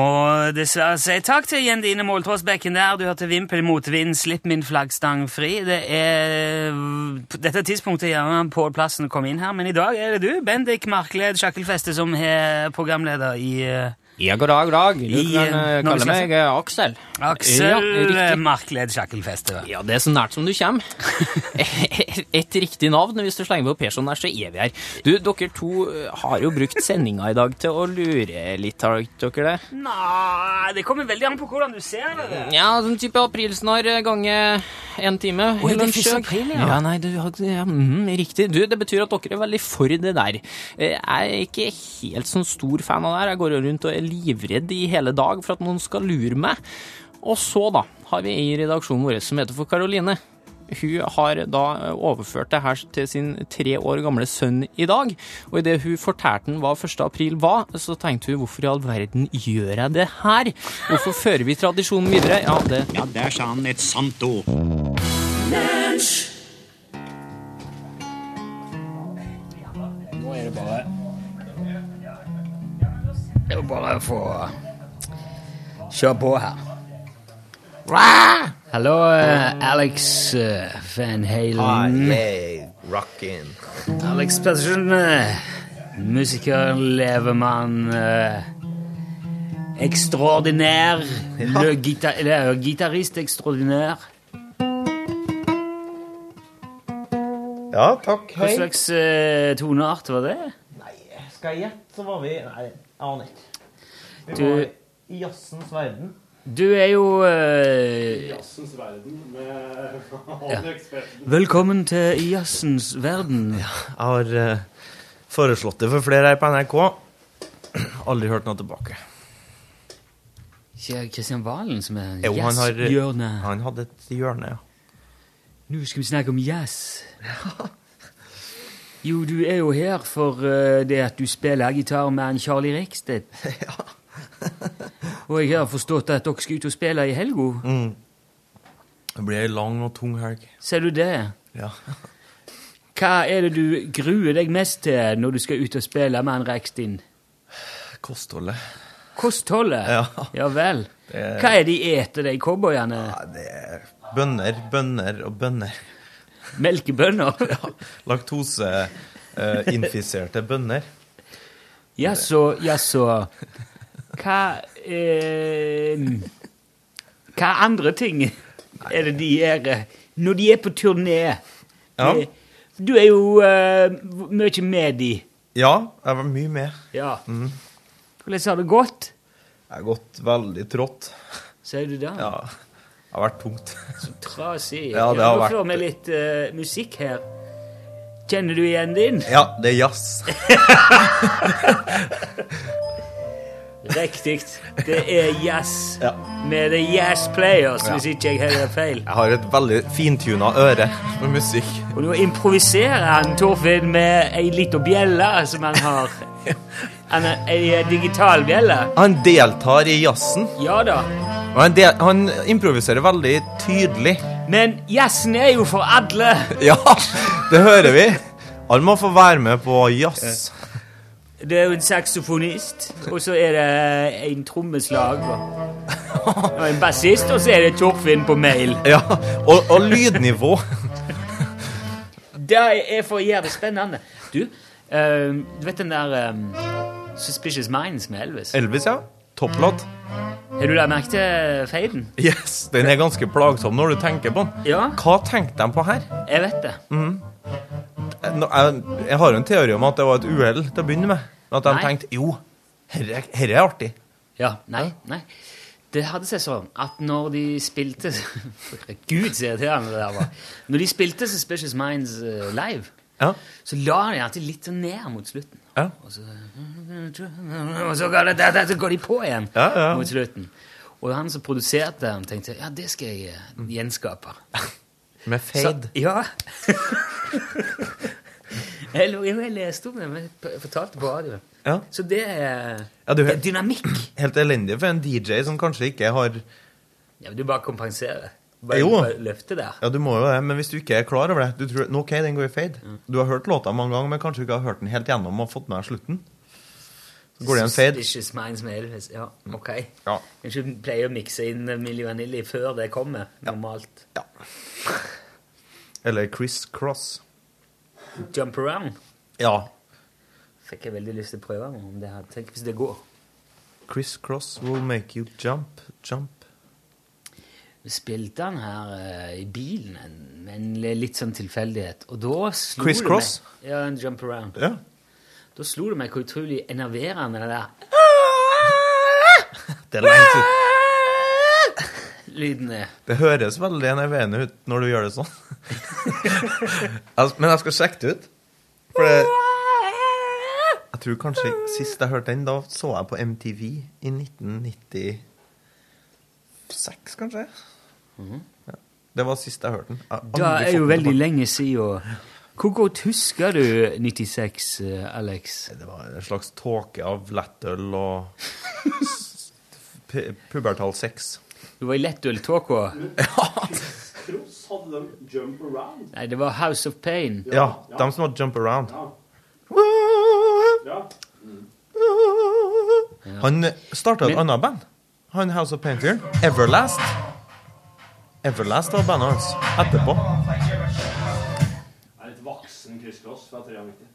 S5: dessverre si takk til Jendine Dine Måltrådsbekken der. Du hørte Vimpel mot vind, slipp min flaggstang fri. Det er på dette tidspunktet gjerne Pål Plassen kom inn her, men i dag er det du, Bendik Markled Sjakkelfeste, som er programleder i eh,
S12: Ja, god dag, god dag. Du
S5: I,
S12: kan
S5: eh,
S12: eh,
S5: når
S12: kalle
S5: vi snakker-
S12: meg eh, Aksel. Ja,
S5: Aksel
S12: riktig.
S5: Markled Sjakkelfeste.
S12: Ja, det er så nært som du kommer. Et riktig navn. Hvis du slenger på Persson sånn der, så er vi her. Du, dere to eh, har jo brukt sendinga i dag til å lure litt, har dere det?
S5: Nei, det kommer veldig an på hvordan du ser det.
S12: Ja, sånn type aprilsnarr ganger én time.
S5: er det
S12: Lunsj. eh,
S5: første april, ja?
S12: ja nei, du, har- ja, mm, riktig. Du, det betyr at dere er veldig for det der. Eh, Jeg er ikke helt sånn stor fan av det her. Jeg går jo rundt og er livredd i hele dag for at noen skal lure meg. Og så, da, har vi ei i redaksjonen vår som heter for Karoline. Hun har da overført det her til sin tre år gamle sønn i dag. Og idet hun fortalte han hva 1. april var, så tenkte hun hvorfor i all verden gjør jeg det her? Hvorfor fører vi tradisjonen videre? Ja, det
S4: Ja, der sa han et sant ord.
S5: Nå er det bare Det er jo bare å få kjøre på her. Rah! Hallo, eh, Alex eh, Van Halen.
S13: Rockin.
S5: Alex Pettersen, eh, musiker, levemann eh, Ekstraordinær. Le gita eller, eh, gitarist ekstraordinær.
S13: Ja, takk.
S5: Hva slags eh, toneart var det?
S13: Skal jeg gjette, så var vi Nei, jeg aner ikke. Vi
S5: Du-
S13: var i jazzens verden.
S5: Du er jo eh,
S13: Jazzens verden
S5: ja. Velkommen til I jazzens verden.
S13: Jeg har eh, foreslått det for flere her på NRK. Aldri hørt noe tilbake.
S5: Ikke Kristian Valen som er
S13: Jo, han har
S5: jazzhjørne.
S13: Han hadde et hjørne, ja.
S5: Nå skal vi snakke om jazz. Jo, du er jo her for eh, det at du spiller gitar med en Charlie Rekstedt. Og jeg har forstått at dere skal ut og spille i helga.
S13: Mm. Det blir ei lang og tung helg.
S5: Ser du det?
S13: Ja.
S5: Hva er det du gruer deg mest til når du skal ut og spille med en Rekstein?
S13: Kostholdet.
S5: Kostholdet? Ja. vel.
S13: er-
S5: Hva er de eter, de cowboyene?
S13: Bønner, bønner og bønner.
S5: Melkebønner?
S13: ja. Laktoseinfiserte eh, bønner.
S5: Jaså, jaså. Hva eh, Hva andre ting er det de gjør eh, når de er på turné?
S13: Ja.
S5: Eh, Du er jo eh, v- mye med de.
S13: Ja, jeg var mye med.
S5: Ja.
S13: Mm.
S5: Hvordan har det gått?
S13: Jeg har gått veldig trått.
S5: Sier du det?
S13: Ja. Det har vært tungt.
S5: Trasig.
S13: Ja, det har
S5: nå
S13: vært-
S5: får vi litt eh, musikk her. Kjenner du igjen din?
S13: Ja, det er jazz.
S5: Riktig. Det er Jazz med The Jazz Players, hvis ikke jeg hører feil.
S13: Jeg har et veldig fintuna øre for musikk.
S5: Og nå improviserer han Torfinn med ei lita bjelle som han har. Han er ei eh, digital bjelle.
S13: Han deltar i jazzen,
S5: Ja da.
S13: og han, del han improviserer veldig tydelig.
S5: Men jazzen er jo for alle.
S13: Ja, det hører vi. Alle må få være med på jazz.
S5: Det er jo en saksofonist, og så er det eh, en trommeslager. Og en bassist, og så er det Torfinn på mail.
S13: Ja, og, og lydnivå.
S5: Det er for å gjøre det spennende. Du, ehm, du vet den der ehm, Suspicious Minds med Elvis?
S13: Elvis, ja. Topplåt.
S5: Har du lagt merke til feiden?
S13: Yes, den er ganske plagsom når du tenker på den.
S5: Ja,
S13: Hva tenkte de på her? Eh,
S5: jeg vet det.
S13: Nå, Jeg, jeg har jo en teori om at det var et uhell til å begynne med. Men At de
S5: Nei.
S13: tenkte jo, herre, herre er artig.
S5: Ja, nei, nei. Det hadde seg sånn at når de spilte Gud, så irriterende det der var. Når de spilte Suspicious Minds eh, live, så la de alltid litt sånn ned mot slutten. Og så, og så, går, det, der, der, så går de på igjen
S13: Ja, ja.
S5: mot slutten. Og han som produserte den, tenkte ja, det skal jeg eh, gjenskape.
S13: Med fade.
S5: Så, ja. jeg, lo- jo, jeg leste om det, men jeg p- fortalte på radioen.
S13: Ja.
S5: Så det er,
S13: Ja, du-
S5: det er dynamikk.
S13: Helt elendig for en DJ som kanskje ikke har
S5: Ja, men du bare kompenserer. Bare,
S13: Jo.
S5: bare løfter der.
S13: Ja, du må jo det, men hvis du ikke er klar over det Du tror nå, OK, den går i
S5: Mm.
S13: fade. Du har hørt låta mange ganger, men kanskje du ikke har hørt den helt gjennom og fått med deg slutten. Så går det i en fade.
S5: Suspicious Minds med Elvis. Ja, ok.
S13: Ja.
S5: Kanskje du pleier å mikse inn Milli Vanilli før det kommer, normalt.
S13: Eller Criss Cross.
S5: Jump Around
S13: Ja.
S5: fikk jeg veldig lyst til å prøve nå, om det her. Tenk hvis det går.
S13: Criss Cross will make you jump, jump.
S5: Vi spilte den her eh, i bilen en- med en le- litt sånn tilfeldighet, og da slo
S13: Criss
S5: det
S13: Cross?
S5: meg... Ja, en Jump Around.
S13: Ja.
S5: Da slo det meg hvor utrolig enerverende det der
S13: Det er lenge siden.
S5: lyden er.
S13: Det høres veldig enerverende ut når du gjør det sånn. Altså, Men jeg skal sjekke det ut. For det Jeg tror kanskje sist jeg hørte den, da så jeg på MTV i 1996, kanskje. Ja. Det var sist jeg hørte den. Jeg har
S5: Det Mhm.
S13: aldri
S5: er
S13: fått
S5: jo
S13: den
S5: veldig
S13: tilbake.
S5: lenge siden. Hvor godt husker du 96, eh, Alex?
S13: Det var en slags tåke av lettøl og s- pu- pubertal sex.
S5: Du var i lettøltåka.
S7: Tross hadde de jump around.
S5: Nei, det var House of Pain.
S13: Ja, dem som var jump around.
S7: Ja.
S13: Han starta et
S7: Men-
S13: annet band. Han House of Painter. Everlast. Everlast var bandet hans etterpå.
S7: Er et vaksen krysskross fra 93.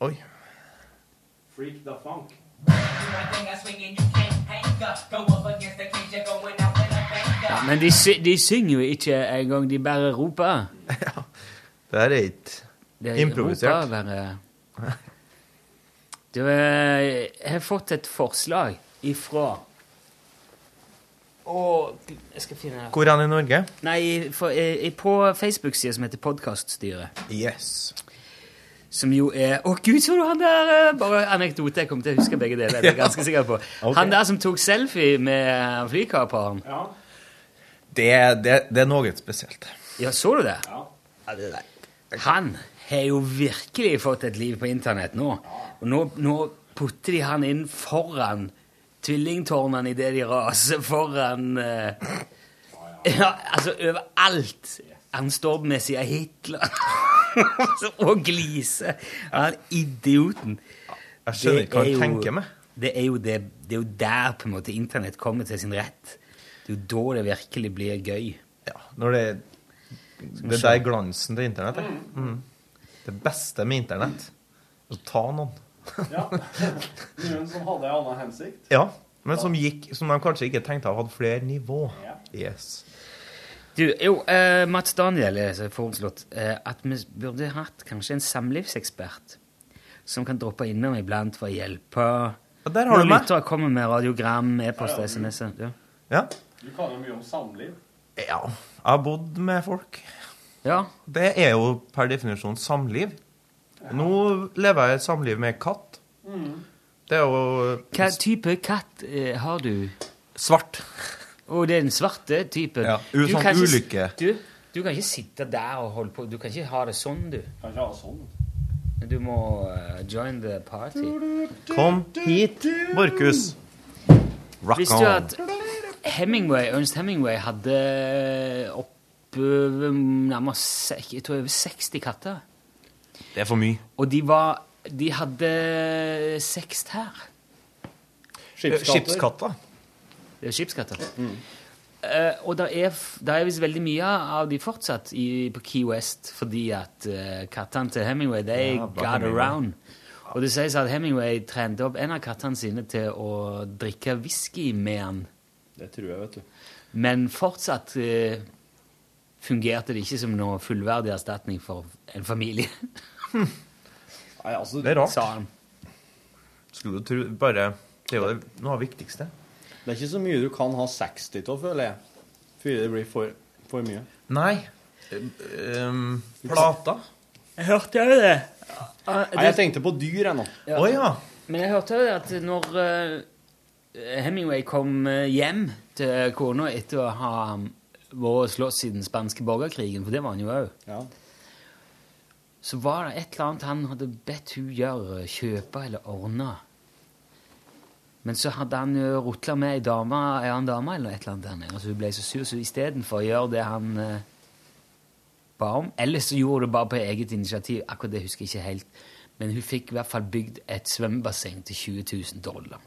S13: Oi.
S7: Freak the funk.
S5: Ja, men de, sy de synger jo ikke engang, de bare roper.
S13: Det her er ikke
S5: De roper
S13: improvisert.
S5: bare. Du, eh, jeg har fått et forslag ifra Og jeg skal finne det.
S13: Hvor er han i Norge?
S5: Nei, for, eh, eh, på Facebook-sida som heter Podkaststyret.
S13: Yes.
S5: Som jo er Å, gud, så du han der eh, Bare anekdote. Jeg kommer til å huske begge deler. Det er jeg ganske sikker på.
S13: Ok.
S5: Han der som tok selfie med flykaperen. Ja.
S13: Det, det, det er noe spesielt.
S5: så du det? Han har jo virkelig fått et liv på internett nå. Og nå, nå putter de han inn foran tvillingtårnene idet de raser foran eh, Ja, altså overalt. Han står med siden av Hitler og gliser. Han idioten.
S13: Jeg skjønner ikke hva han
S5: Det er jo-
S13: tenker med.
S5: Det er, jo det, det er jo der på en måte internett kommer til sin rett. Det er jo da det virkelig blir gøy.
S13: Når det,
S5: Skal vi
S13: det er
S5: se.
S13: der glansen til internett er. Mm. Det beste med internett å ta noen.
S7: Ja. Noen som hadde en annen hensikt.
S13: Ja, men som, gikk, som de kanskje ikke tenkte hadde flere nivå. Yes.
S5: Du, jo, eh, Mats Daniel er så foreslått eh, at vi burde hatt kanskje en samlivsekspert som kan droppe innom iblant for å hjelpe
S13: der har
S5: Når
S13: du meg.
S5: lyttere kommer med radiogram, e-post og
S7: Ja, ja.
S5: SMS-er. Ja.
S13: Ja.
S7: Du kan jo mye om samliv.
S13: Ja. Jeg har bodd med folk.
S5: Ja.
S13: Det er jo per definisjon samliv. Nå lever jeg et samliv med katt.
S7: Mm.
S13: Det er jo
S5: Hva type katt eh, har du?
S13: Svart.
S5: Og det er den svarte typen?
S13: Ja, u- sånn
S5: kan ikke s-
S13: ulykke.
S5: Du, du kan ikke sitte der og holde på. Du kan ikke ha det sånn, du. Kan ikke ha det sånn. Du må eh, join the party.
S13: Kom hit, Markus. Rock
S5: Visste du
S13: on.
S5: at Hemingway, Ernst Hemingway hadde eh, opp øh, nærmere se- jeg tror over 60 katter?
S13: Det er for mye.
S5: Og de var De hadde sekst her.
S13: Skipskatter. Eh, skipskatter.
S5: Det er skipskatter.
S7: Mm.
S5: Eh, og det er, f- der er visst veldig mye av de fortsatt i, på Key West, fordi at eh, kattene til Hemingway, de
S7: Ja,
S5: got
S7: bra Hemingway.
S5: around. Og det sies at Hemingway trente opp en av kattene sine til å drikke whisky med han.
S7: Det tror jeg, vet du.
S5: Men fortsatt eh, fungerte det ikke som noe fullverdig erstatning for en familie.
S7: Nei, altså,
S13: Det er rart.
S5: Sa han.
S13: Skulle du tro Bare Det er jo det- noe av det viktigste.
S7: Det er ikke så mye du kan ha 60 av, føler jeg. Fordi det blir for, for mye.
S13: Nei. Eh, Um, plata.
S5: Jeg hørte jo det.
S7: Nei, jeg tenkte på dyr, jeg nå.
S5: Men jeg hørte jo det at når eh, Hemingway kom eh, hjem til kona etter å ha vært og slåss i den spanske borgerkrigen, for det var han jo òg, så var det et eller annet han hadde bedt hun gjøre, kjøpe eller ordne. Men så hadde han jo rotla med ei dame, ei annen dame eller et eller annet der nede, så hun ble så sur, så istedenfor å gjøre det han eh, ba om Eller så gjorde hun det bare på eget initiativ, akkurat det husker jeg ikke helt. Men hun fikk i hvert fall bygd et svømmebasseng til 20 000 dollar.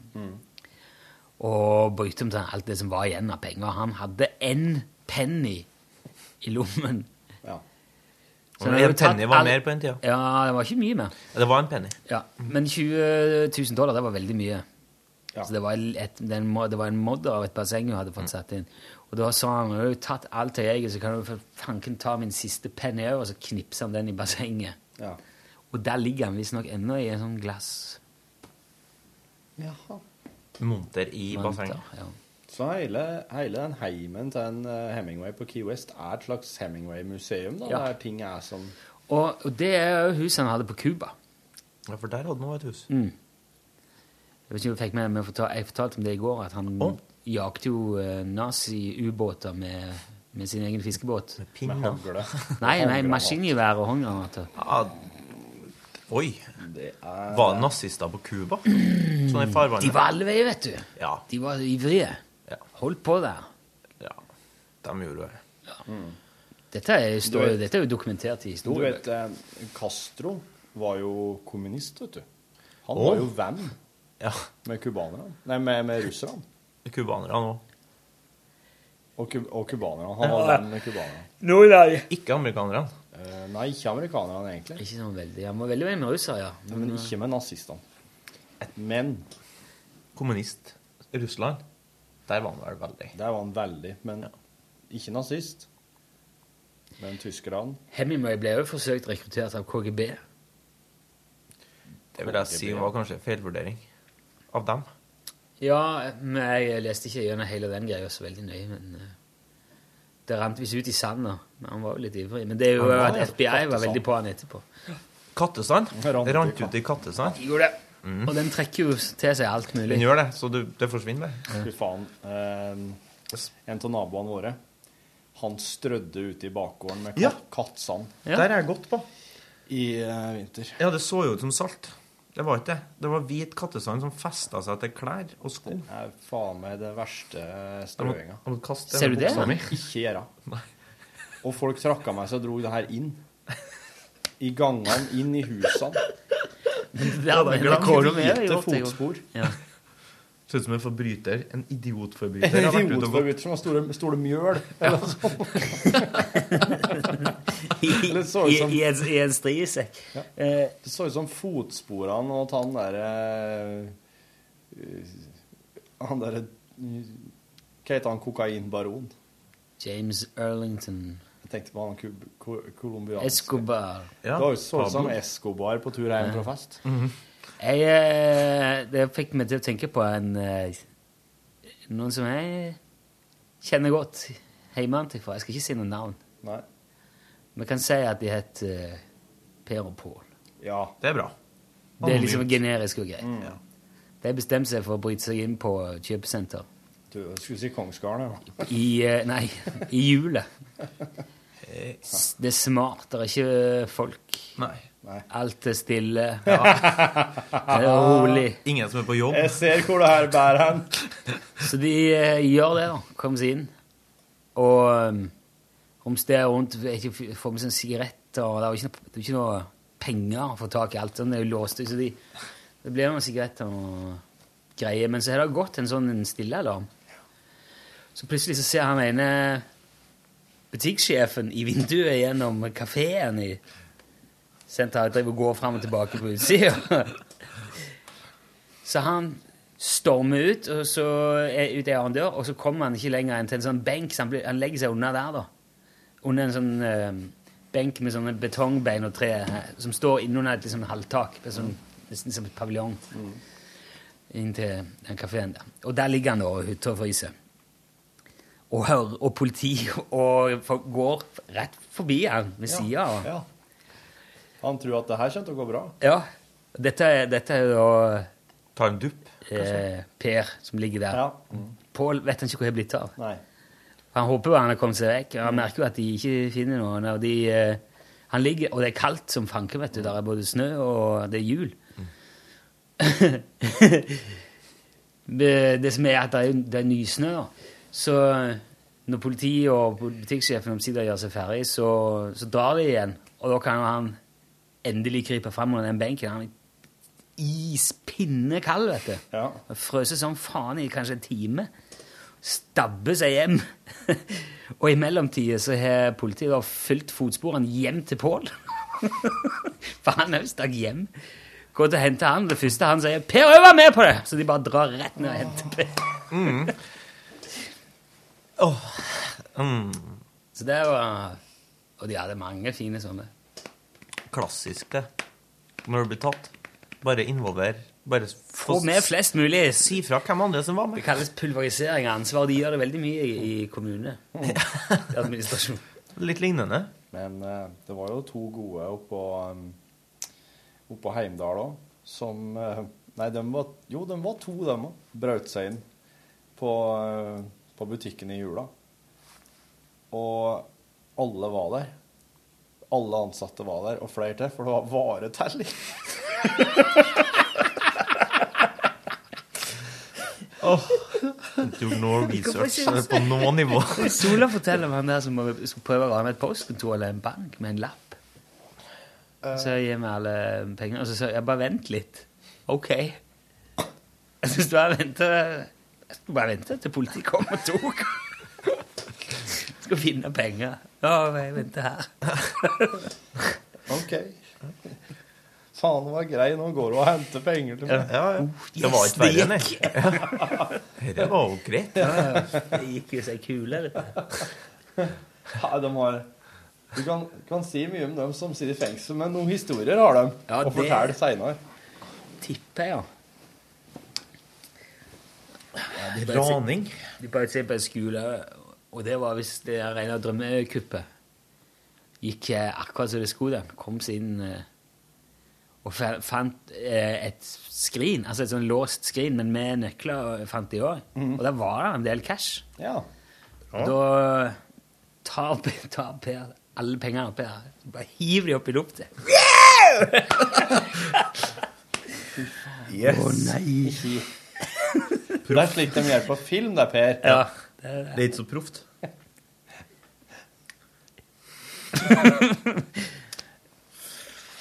S5: Og brukte omtrent alt det som var igjen av penger. Han hadde én penny i lommen.
S13: Og
S5: han hadde
S13: en penny
S5: tatt
S13: var
S5: all-
S13: mer på den tida.
S5: Ja, det var ikke mye mer.
S13: Det var en penny.
S5: Ja, Men 20 000 dollar, det var veldig mye. Så det var, et, det er en mod- det var en modder av et basseng hun hadde fått
S13: Mm.
S5: satt inn. Og da sa han har du tatt alt jeg eier, så kan du for fanken ta min siste penny òg, og så knipser han den i bassenget.
S7: Ja.
S5: Og der ligger han visstnok ennå i en sånn glass
S7: Jaha.
S13: Monter i
S5: Monter,
S13: bassenget.
S5: Ja.
S7: Så hele, hele den heimen til en eh, Hemingway på Key West er et slags Hemingway-museum, da?
S5: Ja.
S7: Der ting er som
S5: Og, og det er jo huset han hadde på Cuba.
S13: Ja, for der hadde han også et hus.
S5: Mm. Jeg vet ikke om jeg fikk med meg, fortal- jeg fortalte om det i går, at han jakte jo eh, nazi-ubåter med Med sin egen fiskebåt. Med
S13: pinne. Med hagle.
S5: Nei, nei, maskingevær og håndgranater.
S13: Oi. Var det nazister på Cuba? Sånn i farvannet?
S5: Mm. De var alle veier, vet du.
S13: Ja.
S5: De var ivrige. Holdt på der.
S13: Ja, de gjorde det.
S5: Dette er, står,
S7: Du
S5: jo-
S7: vet-
S5: dette er jo dokumentert i
S7: Du
S5: historien.
S7: vet, eh, Castro var jo kommunist, vet du. Han
S5: Å.
S7: var jo venn med cubanerne. Nei, med, med russerne.
S13: Cubanerne òg.
S7: Og ku- og cubanerne. Han var
S13: Ja.
S7: venn med cubanerne.
S13: Ikke amerikanerne.
S7: Eh, nei, ikke amerikanerne, egentlig.
S5: Ikke sånn veldig. Han var veldig venn med russere, ja.
S7: Men, ikke med nazistene. Men
S13: Kommunist. Russland. Der var han vel veldig.
S7: Der var han veldig, men ikke nazist. Men tyskerne
S5: Hemingway ble jo forsøkt rekruttert av KGB.
S13: Det vil jeg si var kanskje en feilvurdering av dem.
S5: Ja, men jeg leste ikke gjennom hele den greia så veldig nøye, men eh, det rant visst ut i sanda. Men han var jo litt ivrig. Men det er jo
S13: Han var
S5: at
S13: jo
S5: FBI var
S13: kattesand.
S5: veldig på han etterpå.
S13: Kattesand? Det rant ut i kattesand?
S5: Gjorde det. Og den trekker jo til seg alt mulig.
S13: Den gjør det, så det, det forsvinner.
S7: Fy faen. Eh, en av naboene våre han strødde ute i bakgården med
S13: Ja.
S7: kat kattsand.
S13: Ja. Der er jeg godt på.
S7: I eh, vinter.
S13: Ja, det så jo ut som salt. Det var ikke det. Det var hvit kattesand som festa seg til klær og sko.
S7: Det er faen meg det verste eh,
S13: Jeg
S7: strøinga.
S13: må- jeg må kaste Ser du det, buksa da? mi.
S7: Ikke gjøre. Og folk trakka meg, så jeg dro det her inn. I gangene, inn i husene.
S5: Ja, men det går jo med, jo,
S7: Hvite
S5: det går.
S7: fotspor.
S5: Ja.
S13: Ser ut som en forbryter. En idiotforbryter.
S7: En
S13: har vært ute og gått.
S7: idiotforbryter som har store, store mjøl, eller noe sånt. Eller så ut som-
S5: I, i, en, Eh, I en striesekk.
S7: Ja. Det så ut som fotsporene og at han der eh, eh, Han derre Hva heter han kokainbaron?
S5: James Erlington.
S7: Jeg tenkte på han kub- ko- colombianske.
S5: Escobar.
S7: Det var jo så ut som Escobar på tur hjem fra fest.
S5: Jeg, eh, det fikk meg til å tenke på en eh, Noen som jeg kjenner godt hjemmefra. Jeg skal ikke si noe navn.
S7: Nei.
S5: Vi kan si at de het eh, Per og Pål.
S7: Ja.
S13: Det er bra.
S5: Det er liksom generisk og greit. De bestemte seg for å bryte seg inn på kjøpesenter.
S7: Du jeg skulle si Kongsgarden, ja.
S5: I eh, Nei, i hjulet.
S13: Eh,
S5: S- Det er smart. Det er ikke folk. Alt er stille. Det er rolig.
S13: Ingen som er på jobb.
S7: Jeg ser hvor det her bærer hen.
S5: Så de eh, gjør det, da. Kommer seg inn. Og um, romsterer rundt, vet ikke, får med seg en sigarett og Det er jo ikke, noe- det er ikke noe penger å få tak i. Alt sånn, det er jo låst ut, så de, det blir noen sigaretter og greier. Men så har det gått en sånn en stillealarm. Så plutselig så ser han ene butikksjefen i vinduet gjennom kafeen i senteret. Driver og går fram og tilbake på utsida. Så han stormer ut, og så er ut ei annen dør, og så kommer han ikke lenger enn til en sånn benk. Så han, blir, han legger seg under der, da. Under en sånn eh, benk med sånne betongbein og tre eh, som står innunder et liksom, halvtak. Det er Sånn, nesten som et paviljong.
S7: Mm.
S5: Inntil den kafeen der. Og der ligger han da og hutter og fryser. Og, hører, og politi og folk går rett forbi han ved sida av han.
S7: Ja. Han tror at det her kommer til å gå bra.
S5: Ja. Dette er, dette er jo
S13: Ta en dupp,
S5: eh, Per som ligger der.
S7: Ja.
S5: Pål vet han ikke hvor jeg er blitt av.
S7: Nei.
S5: Han håper jo han har kommet seg vekk. Han merker jo at de ikke finner noen. Og, de, eh, han ligger, og det er kaldt som fanken, vet du. Der er både snø og det er jul. det det som er at det er, jo- det er nysnø, da. Så eh, når politiet og butikksjefen omsider gjør seg ferdig, så, så drar de igjen. Og da kan jo han endelig krype fram under den benken. Han er ispinnekald, vet du.
S7: Ja.
S5: Frøser som faen i kanskje en time. Stabber seg hjem. og i mellomtida så har politiet da fulgt fotsporene hjem til Pål. For han òg stakk hjem. Går til å hente han. Det første han sier, 'Per Øy var med på det!' Så de bare drar rett ned og henter Per.
S13: Mm.
S5: Så det var Og de hadde mange fine sånne.
S13: Klassisk, det. Når du blir tatt. Bare involver. Bare
S5: Få med flest mulig.
S13: Si fra hvem andre som var med.
S5: Det kalles pulverisering av ansvar. De gjør det veldig mye i, i kommune. I administrasjon.
S13: Litt lignende.
S7: Men eh, det var jo to gode oppå, um, oppå Heimdal òg, som eh, Nei, de var, jo, de var to, de òg. Brøt seg inn på, eh, på butikken i jula. og alle var der. Alle ansatte var der, og flere til, for det var varetelling.
S13: Du gjorde noe research eh, på noe nivå.
S5: Sola forteller om han der som skulle prøve å rane et postkontor eller en bank med en lapp. Så jeg gir meg alle pengene, og så sier jeg bare vent litt. Ok. Jeg synes du bare vente Jeg skulle bare vente til politiet kom og tok. Skal finne penger. Ja, jeg venter her.
S7: OK. Faen, det var grei. Nå går hun og henter penger til meg.
S13: Ja, ja. Det var ikke verre, nei. Dette var jo greit.
S5: Det gikk jo seg kule, dette.
S7: Nei, de har Du kan, kan si mye om dem som sitter i fengsel, men noen historier har de å
S5: det-
S7: fortelle seinere.
S5: Tipper jeg, ja.
S13: det er raning.
S5: De bare ser på en skole, og det var hvis det er rene drømmekuppet. Gikk eh, akkurat som det skulle. den. Kom seg inn eh, og fa- fant eh, et skrin, altså et sånn låst skrin, men med nøkler eh, fant de òg. Og der var det en del cash.
S7: Ja.
S5: Og Da tar, P- tar Per alle pengene Per bare hiver de opp i lufta.
S7: Yes.
S5: Å, nei.
S7: Det er slik de gjør på film, det, Per.
S5: Ja, det er det. Det er
S7: ikke så proft.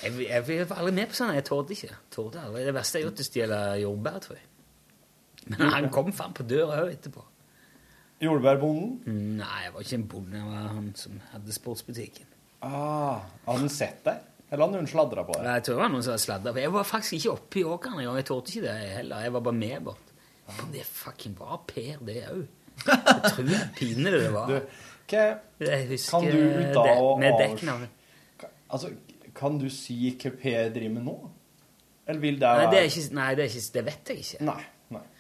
S5: Jeg, jeg, jeg var aldri med på sånne. Jeg torde ikke. Torde aldri. Det verste jeg gjorde, er å stjele jordbær, tror jeg. Men han kom faen på døra òg etterpå.
S7: Jordbærbonden?
S5: Nei, jeg var ikke en bonde. Jeg var han som hadde sportsbutikken.
S7: Ah, hadde han sett deg? Eller hadde hun sladra på deg?
S5: Jeg tror det var noen som hadde sladda. Jeg var faktisk ikke oppe i åkeren engang. Jeg torde ikke det heller. Jeg var bare med bort. Men det fucking var Per, det òg. Jeg tror jeg pinlig det var.
S7: Du, hva-
S5: Jeg husker
S7: kan du da
S5: det,
S7: og
S5: med
S7: avs-
S5: dekknavn.
S7: Altså, kan du si hva Per driver med nå? Eller vil det
S5: Nei,
S7: være
S5: det, er ikke, nei det, er ikke, det vet jeg ikke.
S7: Nei, nei.
S5: Jeg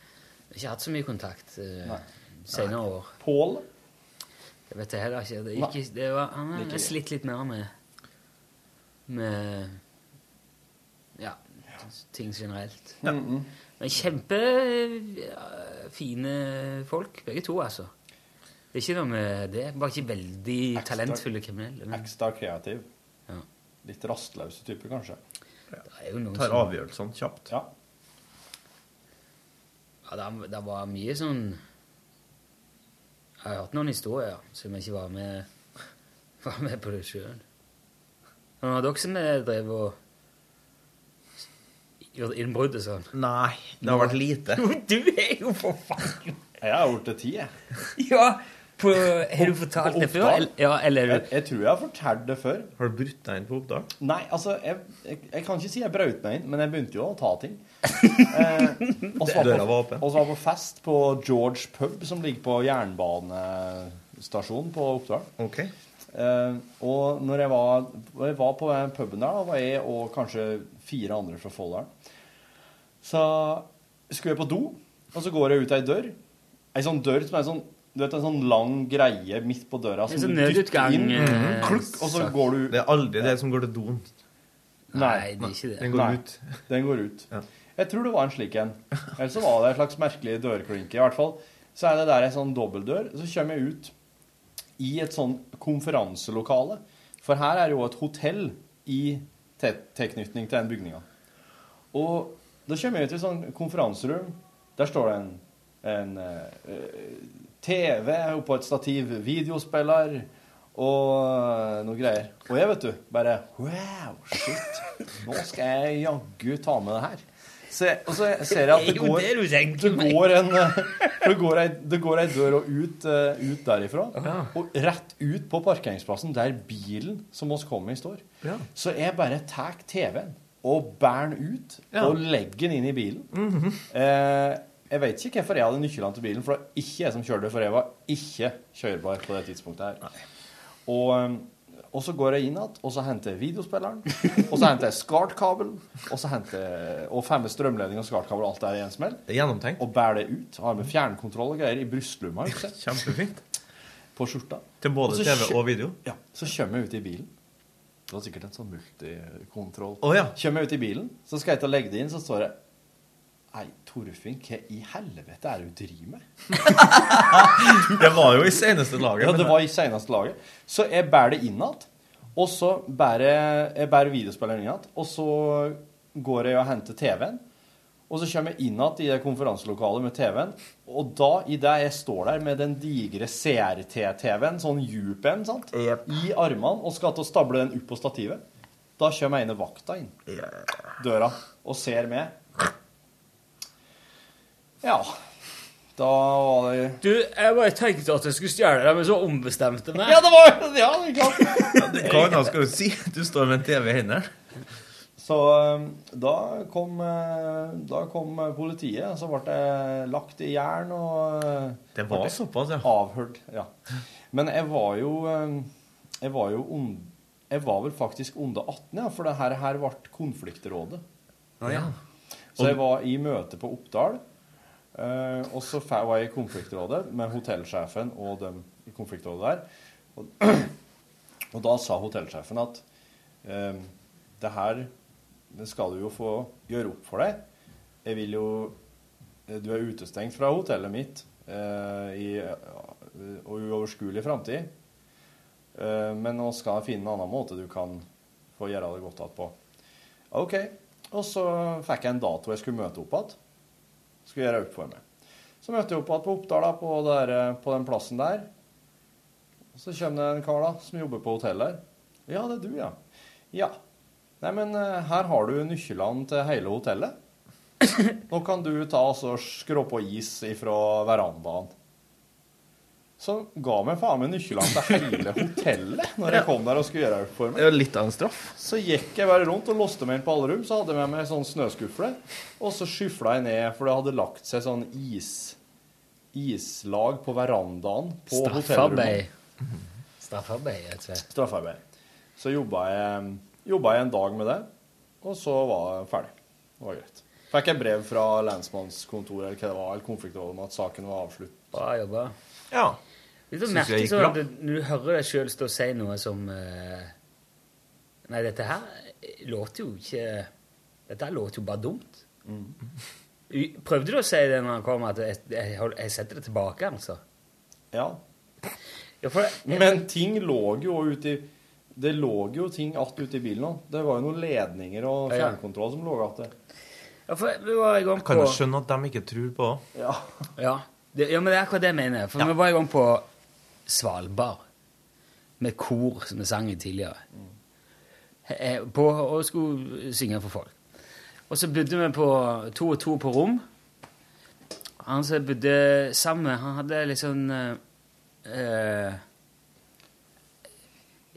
S5: har ikke hatt så mye kontakt uh,
S7: Nei.
S5: senere år.
S7: Pål?
S5: Det vet jeg heller ikke. Det,
S7: Nei.
S5: gikk, ikke- det var, han
S7: Like
S5: har
S7: greit.
S5: slitt litt mer med Med ja, ting generelt.
S7: Ja. Mhm.
S5: Men kjempefine folk, begge to, altså. Det er ikke noe med det. Bare ikke veldig talentfulle kriminelle. Men
S7: Ekstra kreativ.
S5: Ja.
S7: Litt rastløse typer, kanskje.
S5: det er jo noen
S13: Tar
S5: som-
S13: avgjørelsene kjapt.
S7: Ja.
S5: Ja, det, det var mye sånn Jeg har hørt noen historier som jeg ikke var med, var med på det sjøl. Men var det dere som eh, drev og gjorde innbrudd og sånn?
S13: Nei, det har vært lite.
S5: Jo, du er jo for faen
S7: Jeg har gjort det ti, jeg.
S5: Ja, på, har du fortalt det før? Eller- Ja, eller
S7: jeg, jeg tror jeg har fortalt det før.
S13: Har du brutt deg inn på opptak?
S7: Nei, altså jeg, jeg, jeg kan ikke si jeg braut meg inn, men jeg begynte jo å ta ting. Eh, og så
S13: Døra
S7: på,
S13: var åpen.
S7: og så var på fest på George Pub, som ligger på jernbanestasjonen på Oppdal.
S13: Ok.
S7: Eh, og når jeg var, når jeg var på den puben der, da var jeg og kanskje fire andre fra Folldalen. Så skulle jeg på do, og så går jeg ut ei dør. Ei sånn dør som er sånn du vet, En sånn lang greie midt på døra
S5: En
S7: som
S5: sånn
S7: du dytter
S5: nødutgang,
S7: inn.
S13: Mm.
S5: eh,
S7: klukk, og så
S5: sak.
S7: går du
S13: Det er aldri det som går til doen.
S5: Nei, det er ikke det.
S13: Den går
S7: Nei,
S13: ut.
S7: Den går ut. Jeg tror det var en slik en. Eller så var det en slags merkelig dørklinke. I hvert fall så er det der en sånn dobbeltdør. Så kommer jeg ut i et sånn konferanselokale. For her er jo et hotell i te tilknytning til den bygninga. Og da kommer jeg ut i et sånt konferanserom. Der står det en, en eh, eh, TV på et stativ, videospiller og noe greier. Og jeg, vet du, bare Wow, shit. Nå skal jeg jaggu ta med det her. Se, og så ser jeg at det
S5: Det er jo det
S7: går
S5: du
S7: Det går en eh, Det går ei, det går ei dør og ut, eh, ut derifra. Og rett ut på parkeringsplassen der bilen som oss kom i, står.
S13: Ja.
S7: Så jeg bare tar TV-en og bærer den ut
S13: Ja.
S7: og legger den inn i bilen.
S13: Mhm.
S7: eh, jeg vet ikke hvorfor jeg hadde nøklene til bilen, for det var ikke jeg som kjørte, for jeg var ikke kjørbar på det tidspunktet her. Og, um, og så går jeg inn igjen, og så henter jeg videospilleren, og så henter jeg SCART-kabelen, og så henter jeg og femme strømledning og SCART-kabel, alt det her i en smell. Og bærer det ut. Har med fjernkontroll og greier i brystlomma. ikke sant?
S13: Kjempefint.
S7: På skjorta.
S13: Til både
S7: så
S13: TV
S7: kjø-
S13: og video?
S7: Ja. Så kommer jeg ut i bilen. Det var sikkert en sånn multikontroll.
S13: Å, ja.
S7: Kommer jeg ut i bilen, så skal jeg til å legge det inn, så står det Nei, Torfinn, hva i helvete er det du driver med?
S13: Det var jo i seneste
S7: Ja,
S13: laget. men- eh,
S7: det var i seneste laget. Så jeg bærer det inn igjen. Og så bærer jeg bærer videospilleren inn igjen. Og så går jeg og henter TV-en. Og så kommer jeg inn igjen i det konferanselokalet med TV-en. Og da, idet jeg står der med den digre CRT-TV-en, sånn djup en, sant, i armene, og skal til å stable den opp på stativet, da kommer ene vakta inn døra og ser med. Ja. Da var det
S5: Du, jeg bare tenkte at jeg skulle stjele deg, men så ombestemte jeg meg.
S7: Ja, det var Ja, det er klart.
S13: Hva annet skal du si? Du står med en TV i hendene.
S7: Så eh, da kom, eh, da kom eh, politiet, og så ble det lagt i jern og eh,
S13: Det var
S7: ble
S13: såpass, ja.
S7: Avhørt, ja. Men jeg var jo eh, Jeg var jo ond, Jeg var vel faktisk under 18, ja, for det her, her ble konfliktrådet.
S13: Å, ja.
S7: Så jeg var i møte på Oppdal, eh, og så fa- var jeg i konfliktrådet med hotellsjefen og dem i konfliktrådet der. Og, og da sa hotellsjefen at eh, det her det skal du jo få gjøre opp for deg. Jeg vil jo eh, Du er utestengt fra hotellet mitt eh, i eh, uoverskuelig framtid. Eh, men nå skal jeg finne en annen måte du kan få gjøre det godt igjen på. OK. Og så fikk jeg en dato jeg skulle møte opp igjen. Skulle gjøre opp for meg. Så møtte jeg opp igjen på Oppdal, da, på, der, eh, på den plassen der. Så kommer det en kar da, som jobber på hotell her. Ja, det er du, ja. Ja. Nei, men eh, her har du nøklene til hele hotellet. Nå kan du ta og så skrå på is ifra verandaen. Så ga meg faen meg nøklene til hele hotellet når jeg kom der og skulle gjøre opp for meg.
S13: Det er jo litt av en straff.
S7: Så gikk jeg bare rundt og låste meg inn på alle rom. Så hadde jeg med meg sånn snøskuffle. Og så skyfla jeg ned, for det hadde lagt seg sånn is, islag på verandaen på
S5: Straffarbeid.
S7: hotellrommet.
S5: Straffarbeid, jeg tror.
S7: Straffarbeid. Så jobba jeg, jobba jeg en dag med det, og så var jeg ferdig. Det var greit. Fikk jeg brev fra lensmannskontoret eller hva det var, eller konfliktrådet om at saken var avsluttet.
S5: Bra jobba.
S13: Ja.
S5: Det er så
S7: Synes jeg
S5: merkelig
S7: gikk
S5: sånn
S7: bra.
S5: at du, når du hører deg sjøl stå og si noe som eh, Nei, dette her eh, låter jo ikke Dette her låter jo bare dumt.
S7: Mm.
S5: U- Prøvde du å si det når han kom, at jeg, jeg, hold- jeg setter det tilbake, altså?
S7: Ja.
S5: for
S7: Men ting lå jo også ute i Det lå jo ting att ute i bilen òg. Det var jo noen ledninger og
S5: Ja, ja.
S7: fjernkontroll som lå att der.
S5: Ja, for vi var i gang
S13: Kan jo
S5: på
S13: skjønne at de ikke tror på det.
S7: Ja.
S5: Ja, det, ja, men det er akkurat det jeg mener. For vi var i gang på Svalbard med kor, som vi sang i tidligere. Eh, På, og skulle synge for folk. Og så bodde vi på to og to på rom. Han som jeg bodde sammen med, han hadde litt sånn eh, eh,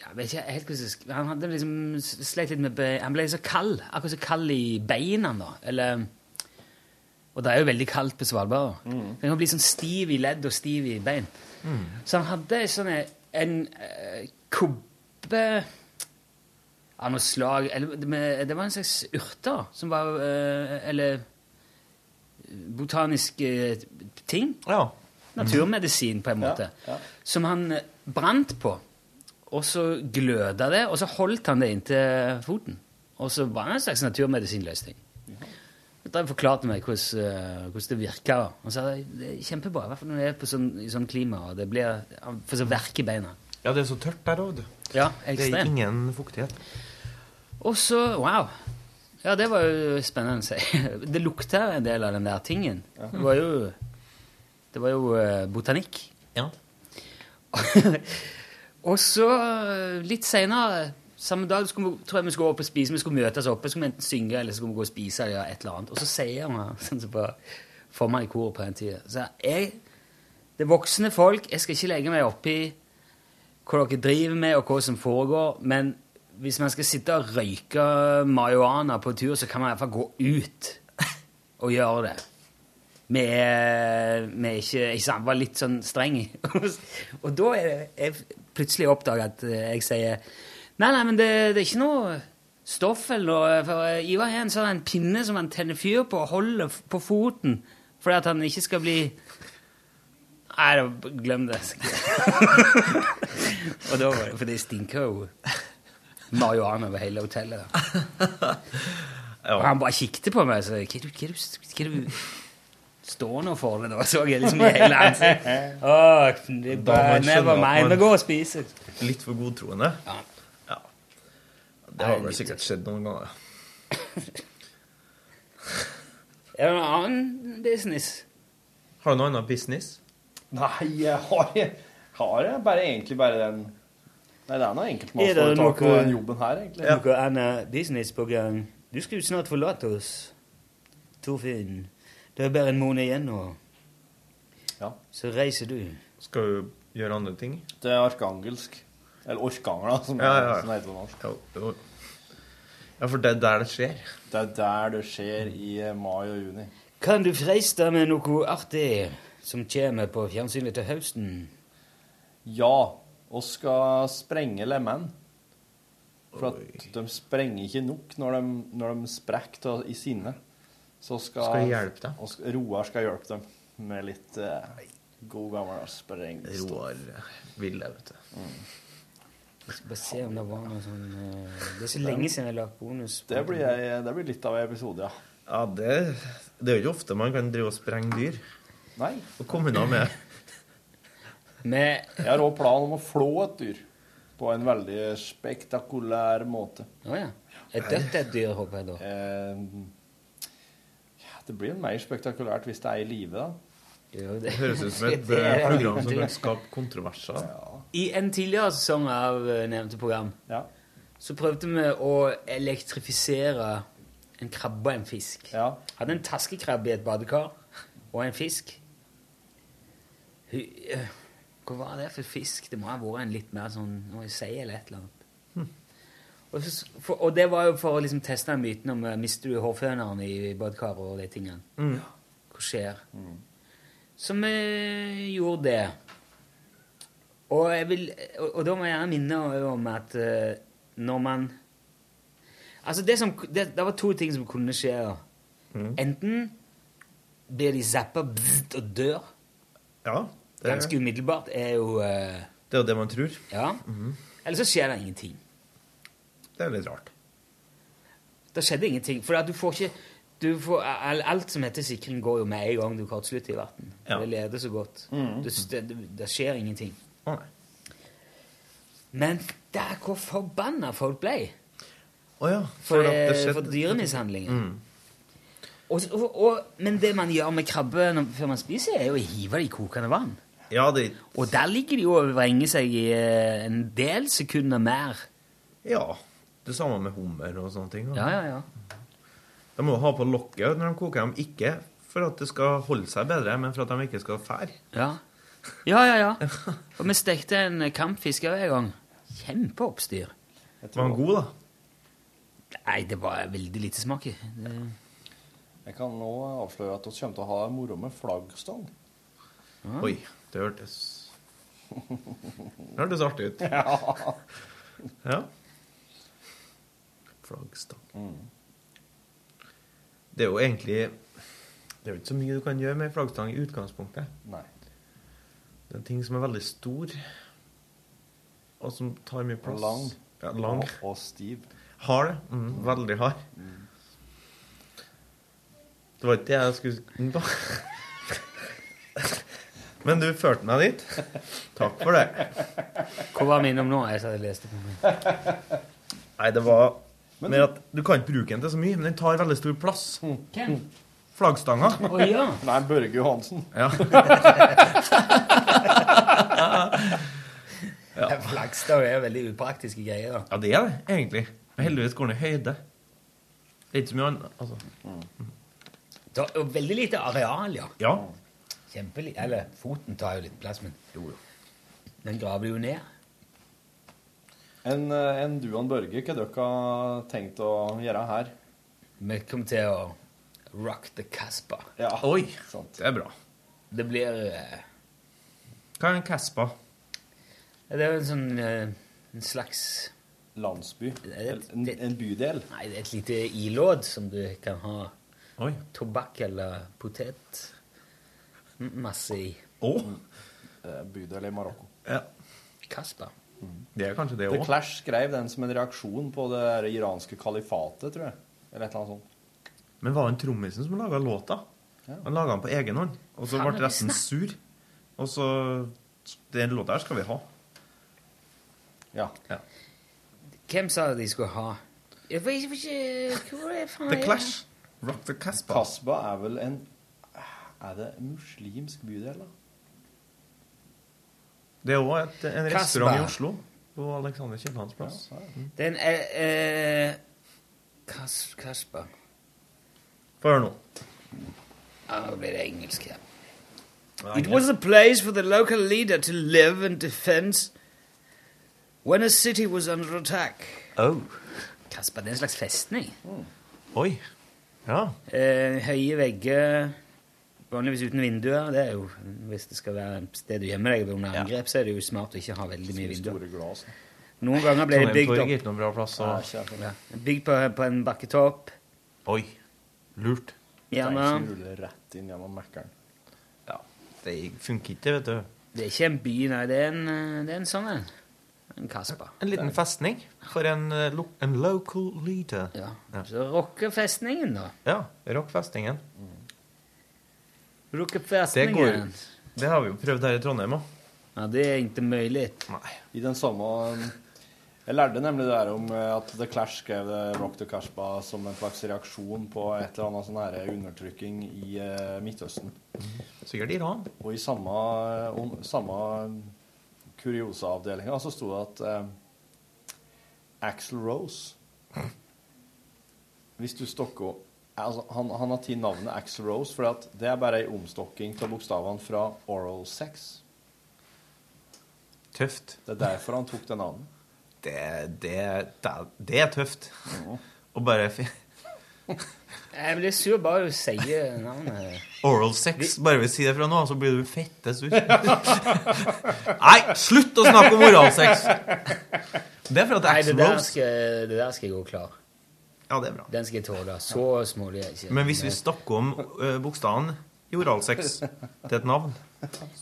S5: jeg vet ikke helt hvordan jeg sk- Han hadde liksom s- sleit litt med be- Han ble så kald. Akkurat så kald i beina, da. Eller Og det er jo veldig kaldt på Svalbard. Mm. Den kan bli sånn stiv i ledd og stiv i bein. Så han hadde sånn en eh, kubbe av noe slag eller, det- med, Det var en slags urter som var eh, Eller botanisk eh, ting. Naturmedisin, på en måte. Som han eh, brant på. Og så gløda det, og så holdt han det inntil foten. Og så var det en slags naturmedisinløsning. Da forklarte han meg hvordan, eh, hvordan det virka. Han sa det er kjempebra, i hvert fall når det er på sånn, i sånn klima, og det blir han får så verk i beina.
S13: Ja, det er så tørt der òg, du.
S5: Ja,
S13: det er
S5: ekstremt.
S13: ingen fuktighet.
S5: Og så Wow. Ja, det var jo spennende. å si. Det lukta en del av den der tingen. Det var jo, det var jo eh, botanikk.
S13: Ja.
S5: og så, eh, litt seinere samme dag skulle vi, tror jeg vi skulle opp og spise. Vi skulle møtes oppe, skulle vi enten synge eller så skulle vi gå og spise. eller et eller annet. Og så sier han sånn som på formann i koret på den tida så jeg, Det er voksne folk, jeg skal ikke legge meg oppi hva dere driver med, og hva som foregår, men hvis man skal sitte og røyke marihuana på tur, så kan man i hvert fall gå ut og gjøre det. Vi er, vi er ikke ikke sant, var litt sånn streng. og da er det- jeg plutselig oppdager at eh, jeg sier Nei, nei, men det, det er ikke noe stoff eller noe. For Ivar har en sånn pinne som han tenner fyr på og holder f- på foten fordi at han ikke skal bli Nei, da- glem det. og da var det For det stinker jo marihuana over hele hotellet. Og han bare kikket på meg og sa Hva er du, hva er du, hva er du står nå for det? Da så jeg liksom i hele ansiktet. Åh, det er
S13: Da
S5: bare sånn
S13: man skjønner
S5: never
S13: at
S5: mind.
S13: man-
S5: Vi går og spiser.
S13: Litt for godtroende? Ja. Det har vel sikkert skjedd noen ganger.
S5: Er det noen annen business?
S13: Har du noe annet business?
S7: Nei, jeg har, har jeg bare egentlig bare den Nei, det er
S5: Er
S7: noe
S5: det
S7: enkeltmannsforetak og
S5: noe-
S7: den jobben her, egentlig.
S5: Noe annet business på gang? Du skal jo snart forlate oss, Torfinn. Det er bare en måned igjen nå. Så reiser du.
S13: Skal du gjøre andre ting?
S7: Det er arkangelsk. Eller orkanger, da, som,
S13: Ja, ja, ja.
S7: som sånn det heter på norsk.
S13: Ja, for det er der det skjer.
S7: Det er der det skjer i eh, mai og juni.
S5: Kan du freiste med noe artig som kommer på fjernsynet til høsten?
S7: Ja, og skal sprenge lemen. For at de sprenger ikke nok når de, når de sprekker til- i sinne. Så skal,
S13: Skal jeg hjelpe deg?
S7: Og sk- Roar skal hjelpe dem med litt eh, god gammel sprengstoff.
S13: Roar vil det, vet du.
S5: Jeg skal bare se om det var noe sånn eh, Det er så lenge siden jeg har lagt bonus.
S7: Det blir, jeg, det blir litt av en episode, ja.
S13: Ja, det, det er jo ikke ofte man kan drive og sprenge dyr.
S7: Nei.
S13: Og komme unna med
S7: Jeg har også planen om å flå et dyr på en veldig spektakulær måte. Eh,
S5: Å ja. Et dødt et dyr, håper jeg da.
S7: ja, det blir mer spektakulært hvis det er i live, da.
S13: Det høres ut som et eh, program som kan skape kontroverser.
S5: I en tidligere sesong av eh, nevnte program så prøvde vi å elektrifisere en krabbe og en fisk. Hadde en taskekrabbe i et badekar og en fisk. Hu- eh, Hva var det for fisk? Det må ha vært en litt mer sånn noe sei eller et eller annet. Og, så, s- for, og det var jo for å liksom teste den myten om eh, mister du hårføneren i badekaret og de tingene.
S2: Mm.
S5: Hva skjer? Så vi gjorde det. Og, jeg vil, og, og da må jeg gjerne minne om at eh, når man Altså, det, som, det, det var to ting som kunne skje. da. Enten blir de zappa bzzzt, og dør.
S13: det er
S5: Ganske
S13: det.
S5: umiddelbart er jo eh,
S13: Det er jo det man tror.
S5: Ja. Eller så skjer det ingenting.
S13: Det er litt rart.
S5: Det skjedde ingenting. For at du får ikke du får, al- Alt som heter sikring, går jo med en gang du kortslutter i verten.
S13: Ja.
S5: Det leder så godt.
S13: Mhm.
S5: Det, det, det skjer ingenting. Men der hvor forbanna folk ble! For,
S13: for at det
S5: eh,
S13: skjedde-
S5: for dyremishandlingen. Og, og, og, men det man gjør med krabbe når, før man spiser, er jo å hive det i kokende vann. Og der ligger de jo og vrenger seg i eh, en del sekunder mer.
S13: Ja. Det samme med hummer og sånne ting. da.
S5: Ja, ja, ja.
S13: De må jo ha på lokket når de koker dem. Ikke for at det skal holde seg bedre, men for at de ikke skal fære.
S5: Ja, ja, ja. ja. Og vi stekte en eh, kampfisk også en gang. Kjempeoppstyr.
S13: Var han god, da?
S5: Nei, det var veldig lite smak i. Det...
S7: Jeg kan nå avsløre at vi kommer til å ha moro med flaggstang.
S5: Ja.
S13: Oi, det hørtes Det hørtes artig ut.
S7: Ja.
S13: ja. Flaggstang.
S7: Mm.
S13: Det er jo egentlig Det er jo ikke så mye du kan gjøre med flaggstang i utgangspunktet.
S7: Nei.
S13: Det er ting som er veldig stor, og som tar mye plass.
S7: Lang.
S13: Ja, lang.
S7: Og, og stiv.
S13: Hard. Mm, veldig hard. Det var ikke det jeg skulle inn på. Men du førte meg dit. Takk for det.
S5: Hvor var min om nå? Jeg satt og leste på min.
S13: Nei, det var mer at du kan ikke bruke den til så mye, men den tar veldig stor plass.
S5: Hvem?
S13: Flaggstanga.
S5: Å, ja.
S7: Nei, Børge Johansen.
S13: Ja.
S5: Ja. Flaggstang er veldig upraktiske greier. da.
S13: Ja, det er det, egentlig. Men heldigvis går den i høyde. Det er ikke så mye annet. Altså.
S5: Det er jo veldig lite areal, ja.
S13: Ja.
S5: Kjempelite. Eller foten tar jo litt plass, men den graver du jo ned.
S7: Enn eh, enn du og Børge, hva dere har tenkt å gjøre her?
S5: Vi kommer til å rock the Caspa.
S7: Ja.
S13: Oi, det er bra.
S5: Det blir eh,
S13: Hva er en Caspa?
S5: Det er jo en sånn eh, En slags
S7: Landsby?
S5: En,
S7: bydel?
S5: Nei, det er et lite ilåd som du kan ha
S13: Oi.
S5: tobakk eller potet m- masse i.
S13: Oh.
S7: Eh, Bydel i Marokko.
S13: Ja.
S5: Caspa.
S13: Det er kanskje det
S7: The
S13: òg.
S7: Clash skrev den som en reaksjon på det her iranske kalifatet, tror jeg. Eller et eller annet sånt.
S13: Men var det trommisen som laga låta? Han laga den på egen hånd, og så
S14: Faen,
S13: ble
S14: vi
S13: resten sur. Og så Den låta her skal vi ha. Ja.
S5: Hvem sa de skulle ha? Jeg vet ikke Hvor er faen
S13: The Clash. Rock the Casbah.
S7: Casbah er vel en Er det en muslimsk bydel, da?
S13: Det er òg en
S5: Casbah.
S13: restaurant i Oslo. På Alexander Kiellands plass. Mm.
S5: Den er eh, Kas, Kasper.
S13: Få høre nå.
S5: Ah, Nå blir det engelsk her.
S13: Ja,
S5: It
S13: ja.
S5: was a place for the local leader to live and defend when a city was under attack.
S13: Oh.
S5: Kasper, det er en slags festning.
S13: Oi. Ja.
S5: Eh, høye vegger, vanligvis uten vinduer. Det er jo, Hvis det skal være et sted du gjemmer deg ved under angrep, så er det jo smart å ikke ha veldig mye vinduer. Noen ganger ble det
S13: Trondheim
S5: bygd
S13: Torg er
S5: opp
S13: ikke noen bra plass å-
S5: ja. Bygd på, på en bakketopp.
S13: Oi. Lurt.
S5: Gjerne.
S7: Tenk å rulle rett inn gjennom Mækkern.
S13: Det funker ikke, vet du.
S5: Det er ikke en by, nei. Det er en, eh, det er en sånn en. En kaspa.
S13: En liten festning for en, eh, lo en local leader.
S5: Ja. Så rocker festningen, da.
S13: Ja. Rock festningen.
S5: Rocker
S13: Det, går,
S5: festningen.
S13: det har vi jo prøvd her i Trondheim òg.
S5: Ja, det er ikke mulig.
S7: I den samme um, Jeg lærte nemlig det der om eh, at The Clash skrev det Rock the Casbah som en slags reaksjon på et eller annet sånn her undertrykking i eh, Midtøsten.
S13: Sikkert Iran.
S7: Og i samme, om, samme kuriosa-avdelinga så sto det at eh, Axl Rose Hvis du stokker opp altså, han, han har tatt navnet Axl Rose, for at det er bare ei omstokking av bokstavene fra oral sex.
S13: Tøft.
S7: Det er derfor han tok det navnet.
S13: Det, det, det, det er tøft. Å bare fi-
S5: Jeg blir sur bare du sier navnet.
S13: Oral sex. Bare vi sier det fra nå, så blir du fette sur. Nei, slutt å snakke om oral sex! Det er for at
S5: Nei,
S13: Axl
S5: det der,
S13: Rose
S5: skal, det der skal jeg gå klar.
S13: Ja, det er bra.
S5: Den skal jeg tåle. Så smålig er jeg ikke.
S13: Men hvis vi snakker om eh, bokstaven i oral sex til et navn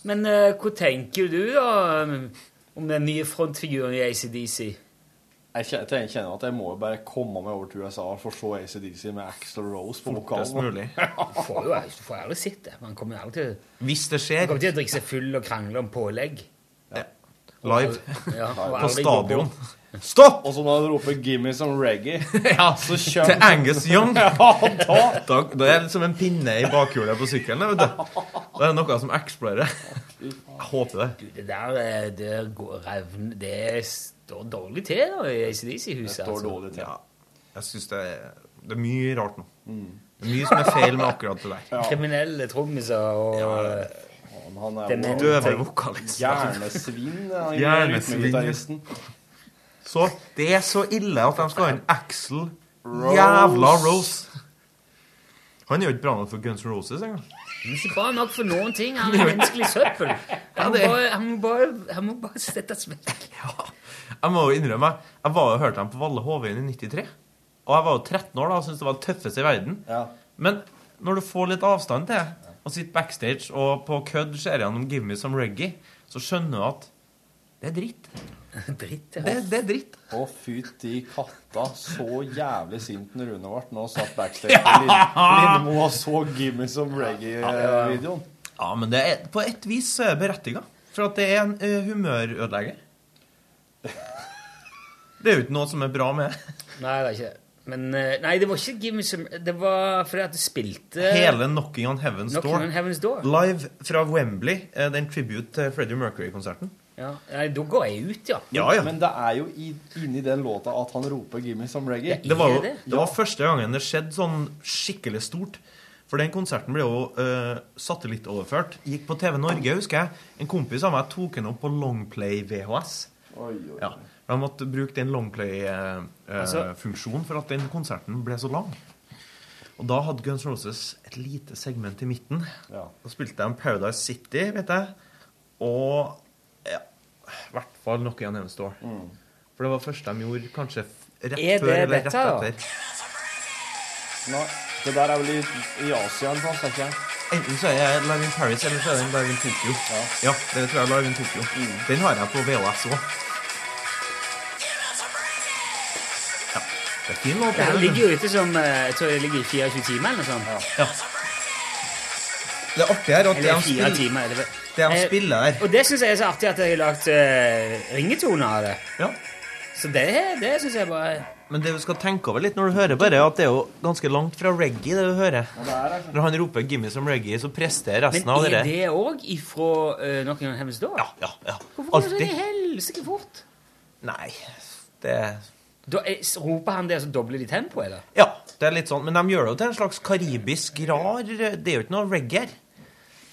S5: Men eh, hva tenker du, da, um, om den nye frontfiguren i ACDC?
S7: Jeg kjenner, jeg kjenner at jeg må jo bare komme meg over til USA for å se ACDC med Axl Rose på vokalen.
S13: Fortest mulig.
S5: Du får jo du får aldri sett det. Man kommer jo aldri til
S13: Hvis det skjer
S5: Man kommer til å drikke seg full og krangle om pålegg.
S13: Live.
S5: Ja, og
S13: På
S5: aldri gå
S13: stadion.
S5: bort.
S13: Stopp!
S7: Og så når han roper 'Give me some reggae', så kjøm-
S13: Til Angus Young.
S7: ja, da
S13: Da, da er det som en pinne i bakhjulet på sykkelen. Vet du. Da er det noe som eksploderer. Jeg håper det.
S5: Det der eh, det går revn... Det står dårlig til da, i ACDC-huset.
S13: Det står dårlig til. Jeg syns det, er- det er mye rart nå. Det er mye som er feil med akkurat det der.
S5: Kriminelle trommiser og
S7: Han er
S13: Den
S7: jo-
S13: døve vokalisten.
S7: Hjernesvin. ja, han er
S13: Hjernesvinn.
S7: rytmegitaristen.
S13: Så det er så ille at de skal ha en Axel Jævla Rose. Han er jo ikke bra nok for Guns N' Roses engang.
S5: Han er ikke bra nok for noen ting. Han er menneskelig søppel. Han må
S13: det er-
S5: bare, han må bare, han må bare settes vekk.
S13: Jeg må jo innrømme, jeg var jo hørte dem på Valle Hovin i 93. Og jeg var jo 13 år da og syntes det var det tøffeste i verden. Men når du får litt avstand til det, og sitter backstage og på kødd ser gjennom Give Me Some Reggae, så skjønner du at det er dritt.
S5: dritt,
S13: Det, det er dritt.
S7: Å, fytti katta. Så jævlig sint den Rune ble nå satt backstage på Lin- på Lindemo og så 'Give me some reggae'-videoen.
S13: Ja, men det er, på et vis så er det berettiga. For at det er en eh, humørødelegger. Det er jo ikke noe som er bra med det.
S5: Nei, det er ikke det. Men eh, Nei, det var ikke Give Me Some Det var fordi at du spilte
S13: Hele Knocking on Heaven's
S5: Knocking
S13: Door.
S5: on Heaven's Door.
S13: Live fra Wembley. eh, Det er en tribute til Freddie Mercury-konserten.
S5: ja. Nei, da går jeg ut, ja.
S13: Ja, ja.
S7: Men det er jo i, inni den låta at han roper 'Give me some reggae'.
S13: Det var jo det var første gangen det skjedde sånn skikkelig stort. For den konserten ble jo eh, satellittoverført. Gikk på TV Norge, husker jeg. En kompis av meg tok den opp på Longplay VHS.
S7: Oi, oi, oi.
S13: Ja. De måtte bruke den
S7: Altså-
S13: Longplay-funksjonen for at den konserten ble så lang. Og da hadde Guns N' Roses et lite segment i midten. Da spilte de Paradise City, vet jeg. Og ja, i hvert fall noe igjen Heaven's Door.
S7: Mm.
S13: For det var første de gjorde kanskje f- rett
S5: Er det
S13: før eller rett
S5: dette, da?
S13: etter.
S7: Nei, det der er vel i, i Asia eller noe, tenker jeg.
S13: Enten så er jeg Live in Paris, eller så er det Live in Tokyo. Ja, det tror jeg er Live in Tokyo.
S5: Mm.
S13: Den har jeg på VHS òg. Ja. Det er fin låt.
S5: Det her ligger jo ute som eh, Jeg tror det ligger i 24 timer eller noe sånt.
S15: Det artige er at det
S5: Eller
S15: han
S5: fire
S15: spiller-
S5: timer. Eller...
S15: det han
S5: Eh,
S15: spiller her
S5: Og det syns jeg er så artig at jeg har lagt uh, ringetoner av det. Så det, det syns jeg bare
S13: Men det du skal tenke over litt når du hører på det, er at det er jo ganske langt fra reggae, det du hører.
S7: altså.
S13: Når han roper 'gimme som reggae', så presterer resten av
S5: Men er
S13: det.
S5: det òg ifra uh, Knocking on Heaven's Door? Ja,
S13: ja, ja.
S5: Hvorfor går det sånn i
S13: Alltid.
S5: helsike fort?
S13: Nei, det
S5: Da eh, s- roper han det, og så dobler de tempoet, eller?
S13: Ja, det er litt sånn. Men de gjør det jo til en slags karibisk rar Det er jo ikke noe reggae her.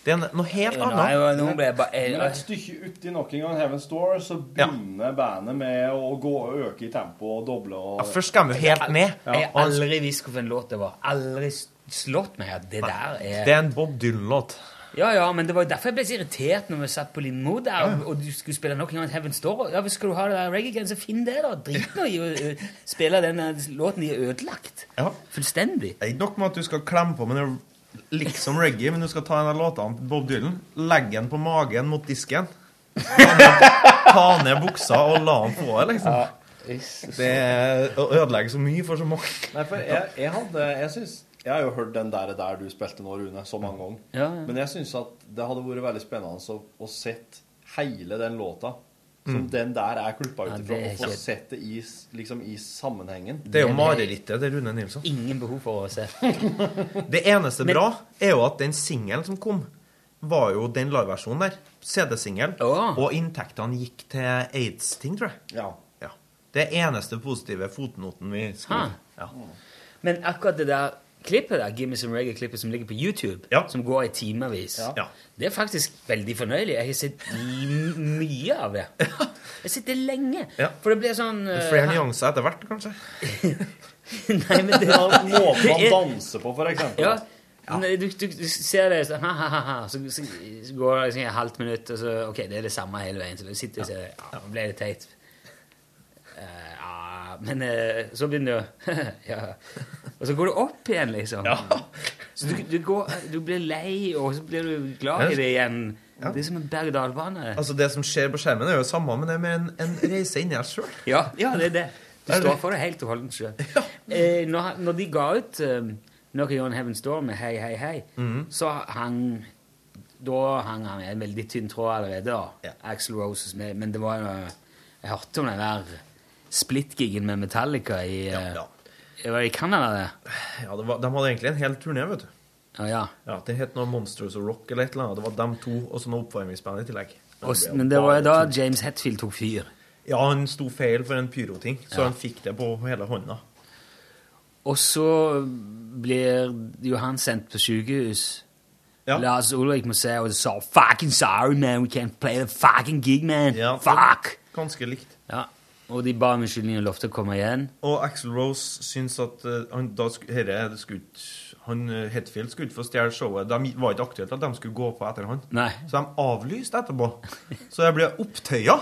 S13: Det er en- noe helt
S5: Jo,
S13: annet.
S5: nei, jo, nå ble jeg bare-
S13: Men
S7: Men et
S13: det-
S7: stykke uti Knocking on Heaven's Door så begynner bandet med å gå og øke i tempo og doble og
S13: Ja, først skal vi jo helt ned.
S5: Jeg
S13: Og
S5: har
S13: han-
S5: aldri visst hvilken låt det var. Aldri s- slått meg at det der er
S13: Det er en Bob Dylan-låt.
S5: Ja, ja, men det var jo derfor jeg ble så irritert når vi satt på Lindmo der, og du skulle spille Knocking on Heaven's Door. Ja, hvis skal du ha det der reggae-greien, så finn det, da. Drit nå i å eh, spille den eh, låten de er ødelagt. Fullstendig.
S15: Det er ikke nok med at du skal klemme på med noe liksom reggae, men du skal ta en av låtene til Bob Dylan, legge den på magen mot disken, ta ned, ta ned buksa og la den på deg, liksom. Det er å ødelegge så mye for så mange.
S7: Nei, for jeg, jeg hadde Jeg synes, Jeg har jo hørt den der, der du spilte nå, Rune, så mange ganger.
S5: Ja, ja.
S7: Men jeg syns at det hadde vært veldig spennende å, å sett hele den låta. Som
S13: Mm.
S7: den der er klippa ut
S13: Ja,
S7: ifra,
S13: det er
S7: og få
S13: ikke-
S7: sett det i, s- liksom, i sammenhengen.
S13: Det er jo marerittet til Rune Nilsson.
S5: Ingen behov for å se.
S13: Det eneste bra er jo at den singelen som kom, var jo den liveversjonen der. CD-singel. Og inntektene gikk til aids-ting, tror jeg.
S7: Ja.
S13: Det er eneste positive fotnoten vi skriver. Ja.
S5: Eh, Men akkurat det der klippet der, Gimme Some Reggae-klippet som ligger på YouTube, som går i timevis,
S13: Ja.
S5: det er faktisk veldig fornøyelig. Jeg har sett m- mye av det. Jeg har sett det lenge. For det blir sånn
S13: Det
S5: eh,
S13: er flere
S5: her-
S13: nyanser etter hvert, kanskje.
S5: Nei, men det
S7: Måten
S5: det
S7: man
S5: er-
S7: danser på, for eksempel.
S5: Ja. Nei, Du, du, du ser det sånn ha, ha, ha, ha, så, så, så går det liksom et halvt minutt, og så OK, det er det samme hele veien. Så du sitter og ser det. Ja, ble det teit? Eh, ja Men eh, så begynner du å ja. Og så går du opp igjen, liksom. Så du, du, går, du blir lei, og så blir du glad i det igjen. Det er som en berg-og-dal-bane.
S13: Altså, det som skjer på skjermen, er jo det samme, men det er mer en, en reise inni deg sjøl.
S5: Ja, ja, det er det. Du
S13: Det er
S5: står
S13: det.
S5: for det helt og holdent sjøl. Eh, når, han- når de ga ut um, Knocking on Heaven's Door med Hei, hei, hei, så hang Da hang han i en veldig tynn tråd allerede. da. Axl Roses med, Men det var jo eh, Jeg hørte om den der split-gigen med Metallica i eh, Var det i Canada, det?
S13: Ja, det var, de hadde egentlig en hel turné, vet du.
S5: Ja, ja.
S13: Det het noe Monsters of Rock eller et eller annet. Det var dem to, og så noe oppvarmingsband i tillegg.
S5: Og, s- men det var jo da James Hetfield tok fyr.
S13: Ja, han sto feil for en pyroting, så
S5: Ja.
S13: han fikk det på hele hånda.
S5: Og så blir jo han sendt på sykehus. Lars Ulrik må si og det sa fucking sorry, man, we can't play the fucking gig, man. Fuck!
S13: Ganske likt.
S5: Ja. Og de ba om unnskyldning og lovte å komme igjen.
S13: Og Axl Rose syns at eh, han, da, sk- herre, det skulle ikke- han, eh, Hetfield skulle ikke få stjele showet. De var ikke aktuelt at de skulle gå på etter han.
S5: Nei.
S13: Så de avlyste etterpå. Så jeg ble opptøya.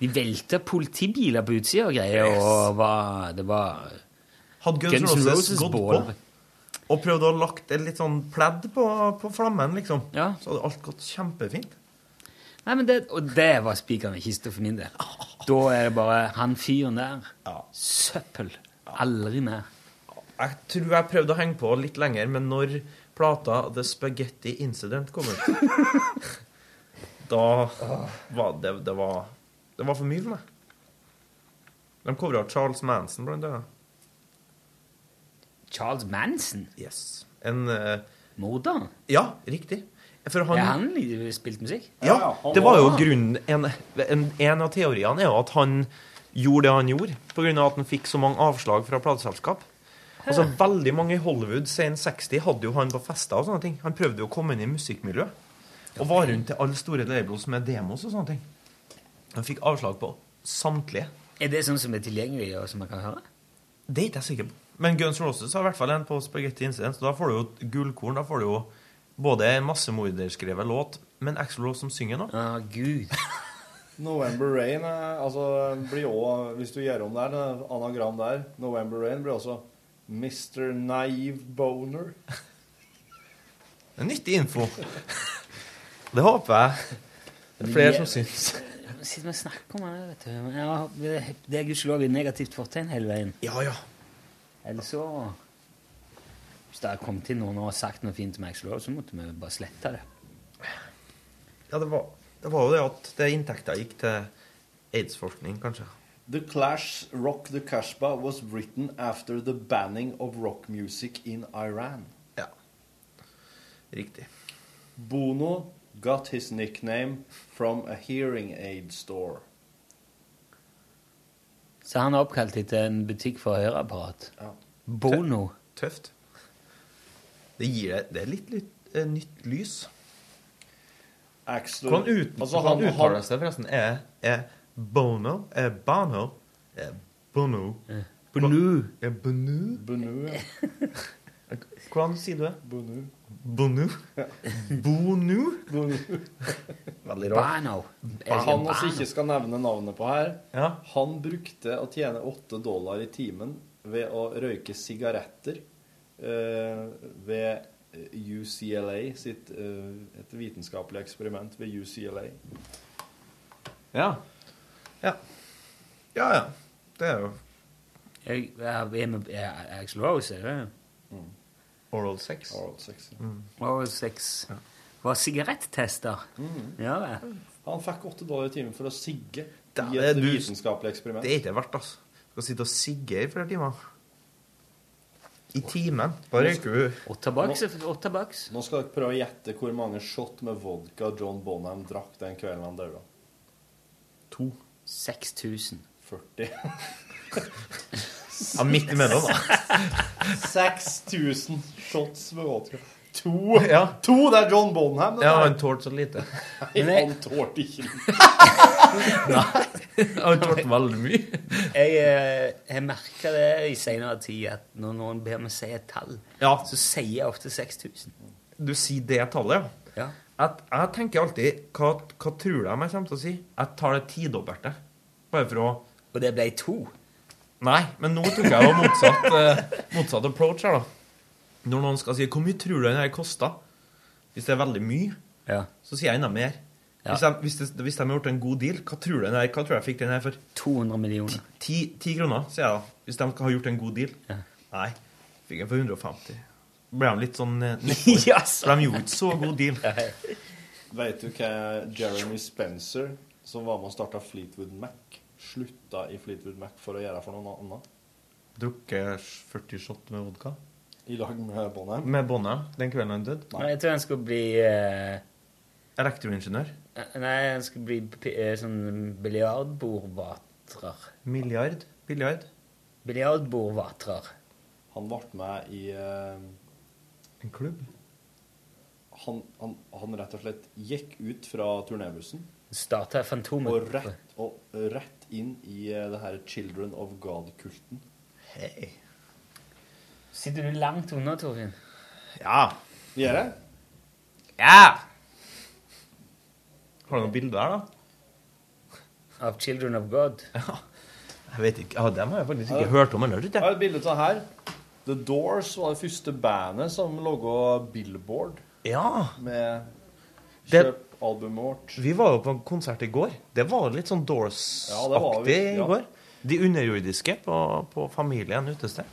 S5: De velta politibiler på utsida og greier, og var, det var
S13: Hadde Guns,
S5: Guns N'
S13: Roses,
S5: Roses
S13: gått
S5: bål.
S13: på og prøvd å ha lagt et litt sånn pledd på, på flammen, liksom, så hadde alt gått kjempefint.
S5: Nei, men det, Og det var spikeren i kista for min del. Da er det bare han fyren der. Søppel. Aldri mer.
S13: Jeg tror jeg prøvde å henge på litt lenger, men når plata The Spaghetti Incident kom ut Da var det Det var, det var for mye for meg. De covra Charles Manson, blant annet.
S5: Charles Manson?
S13: Yes. En uh,
S5: Morderen?
S13: Ja, riktig. For han,
S5: Er han i- spilt musikk?
S13: Ja, det var jo grunnen en, en, en av teoriene er jo at han gjorde det han gjorde, pga. at han fikk så mange avslag fra plateselskap. Altså, veldig mange i Hollywood sen 60 hadde jo han på fester og sånne ting. Han prøvde jo å komme inn i musikkmiljøet. Og var rundt til alle store labels med demos og sånne ting. Han fikk avslag på samtlige.
S5: Er det sånn som er tilgjengelig, og som man kan høre?
S13: Det er ikke jeg sikker på. Men Guns N' Roses har i hvert fall en på Spaghetti Incident, så da får du jo et gullkorn. Da får du jo både en massemorderskrevet låt, men Axl Rose som synger nå.
S5: Ah, Gud.
S7: November Rain er, altså, blir også, Hvis du gjør om der, det anagram der November Rain blir også Mr. Naive Boner.
S13: Det er nyttig info. Det håper jeg. Det er flere som syns.
S5: sitter vi og snakker om det, vet du. Men jeg har- det- det er gudskjelov et negativt fortegn hele veien.
S13: Ja, ja.
S5: Eller så Hvis det har kommet inn noen og sagt noe fint til meg, så så måtte vi jo bare slette det.
S13: Ja, det var, det var jo det at det inntekta gikk til aids-forskning, kanskje.
S7: The Clash Rock the Kashba was written after the banning of rock music in Iran.
S13: Ja. Riktig.
S7: Bono got his nickname from a hearing aid store.
S5: Så han er oppkalt etter en butikk for høreapparat.
S13: Ja.
S5: Bono.
S13: Tøft. Det gir deg Det er litt, litt eh, nytt lys.
S7: Axl
S13: Hvordan ut,
S7: Altså,
S13: hvordan
S7: han- han-
S13: uttales det, forresten? Er, er Bono Er Bono Er Bono
S5: Bonu.
S13: Er Bonu Hvordan sier du det?
S7: Bonu.
S13: Bonu? Bonu? Veldig rart.
S5: Bono.
S7: Han også ikke skal nevne navnet på her.
S13: Ja.
S7: Han brukte å tjene åtte dollar i timen ved å røyke sigaretter eh, ved eh, UCLA sitt eh, Et vitenskapelig eksperiment ved UCLA.
S13: Ja. Ja. Ja, ja. Det er jo
S5: Jeg, jeg, jeg, jeg, Axl Rose, er det?
S13: Oral sex.
S7: Oral sex, ja.
S5: Oral sex. Var sigarettester.
S13: Mm.
S5: Ja vel.
S7: Han fikk åtte dollar i timen for å sigge
S13: Da,
S7: i
S13: det er
S7: et
S13: du-
S7: vitenskapelig eksperiment.
S13: Det er ikke verdt, altså. Du skal sitte og sigge i flere timer. I timen. Da røyker du
S7: Nå- Nå skal dere prøve å gjette hvor mange shot med vodka John Bonham drakk den kvelden han døde.
S13: To.
S5: 6000.
S7: 40.
S13: Ja, midt imellom, da.
S7: 6000 shots med vodka. To!
S13: Ja.
S7: to det er John Bonham. det
S13: Ja,
S7: der.
S13: han tålte så lite.
S7: Nei, han tålte ikke
S13: Nei. Han tålte veldig mye.
S5: Jeg, eh, jeg merker det i senere tid at når noen ber meg si et tall, så sier jeg ofte 6000.
S13: Du sier det tallet, ja. At jeg tenker alltid hva, hva tror de jeg kommer til å si? Jeg tar det tidobbelte. Bare for å
S5: Og det ble to?
S13: Nei, men nå tok jeg jo motsatt, eh, motsatt approach her, da. Når noen skal si 'Hvor mye tror du den her kosta?' Hvis det er veldig mye, så sier jeg enda mer.
S5: Ja.
S13: Hvis, de, hvis, de, hvis de har gjort en god deal, hva tror du den her, hva tror jeg fikk den her for?
S5: 200 millioner.
S13: Ti, ti kroner, sier jeg da. Hvis de har gjort en god deal. Nei, fikk jeg for 150. Ble de litt sånn eh, nedfor. For de gjorde ikke så god deal.
S7: Vet du hva Jeremy Spencer, som var med og starta Fleetwood Mac, slutta i Fleetwood Mac for å gjøre for noen annen?
S13: Drukket 40 shot med vodka.
S7: I lag med Bonham?
S13: Med Bonham den kvelden han døde.
S5: Nei, jeg tror han skulle bli eh,
S13: Elektroingeniør.
S5: Nei, han skulle bli p- eh, sånn biljardbordvatrer.
S13: Milliard. Biljard.
S5: Biljardbordvatrer.
S7: Han ble med i eh,
S13: En klubb?
S7: Han, han, han rett og slett gikk ut fra turnébussen
S5: Starta Fantomet.
S7: og rett, og rett inn i eh, det her Children of God-kulten.
S13: Hei.
S5: Sitter du langt unna, Torfinn?
S13: Ja.
S7: Gjør det?
S13: Ja! Har du noen bilder her, da?
S5: Av Children of God?
S13: Ja. Jeg vet ikke. Ja, dem har jeg faktisk
S7: Ja.
S13: ikke hørt om eller hørt.
S7: Jeg har et bilde av det her. The Doors var det første bandet som laga Billboard.
S13: Ja.
S7: Med
S13: Det-
S7: Kjøp albumet vårt.
S13: Vi var jo på en konsert i går. Det var litt sånn
S7: Ja, det var vi,
S13: Doors-aktig
S7: ja.
S13: i går. De underjordiske på, på Familien utested.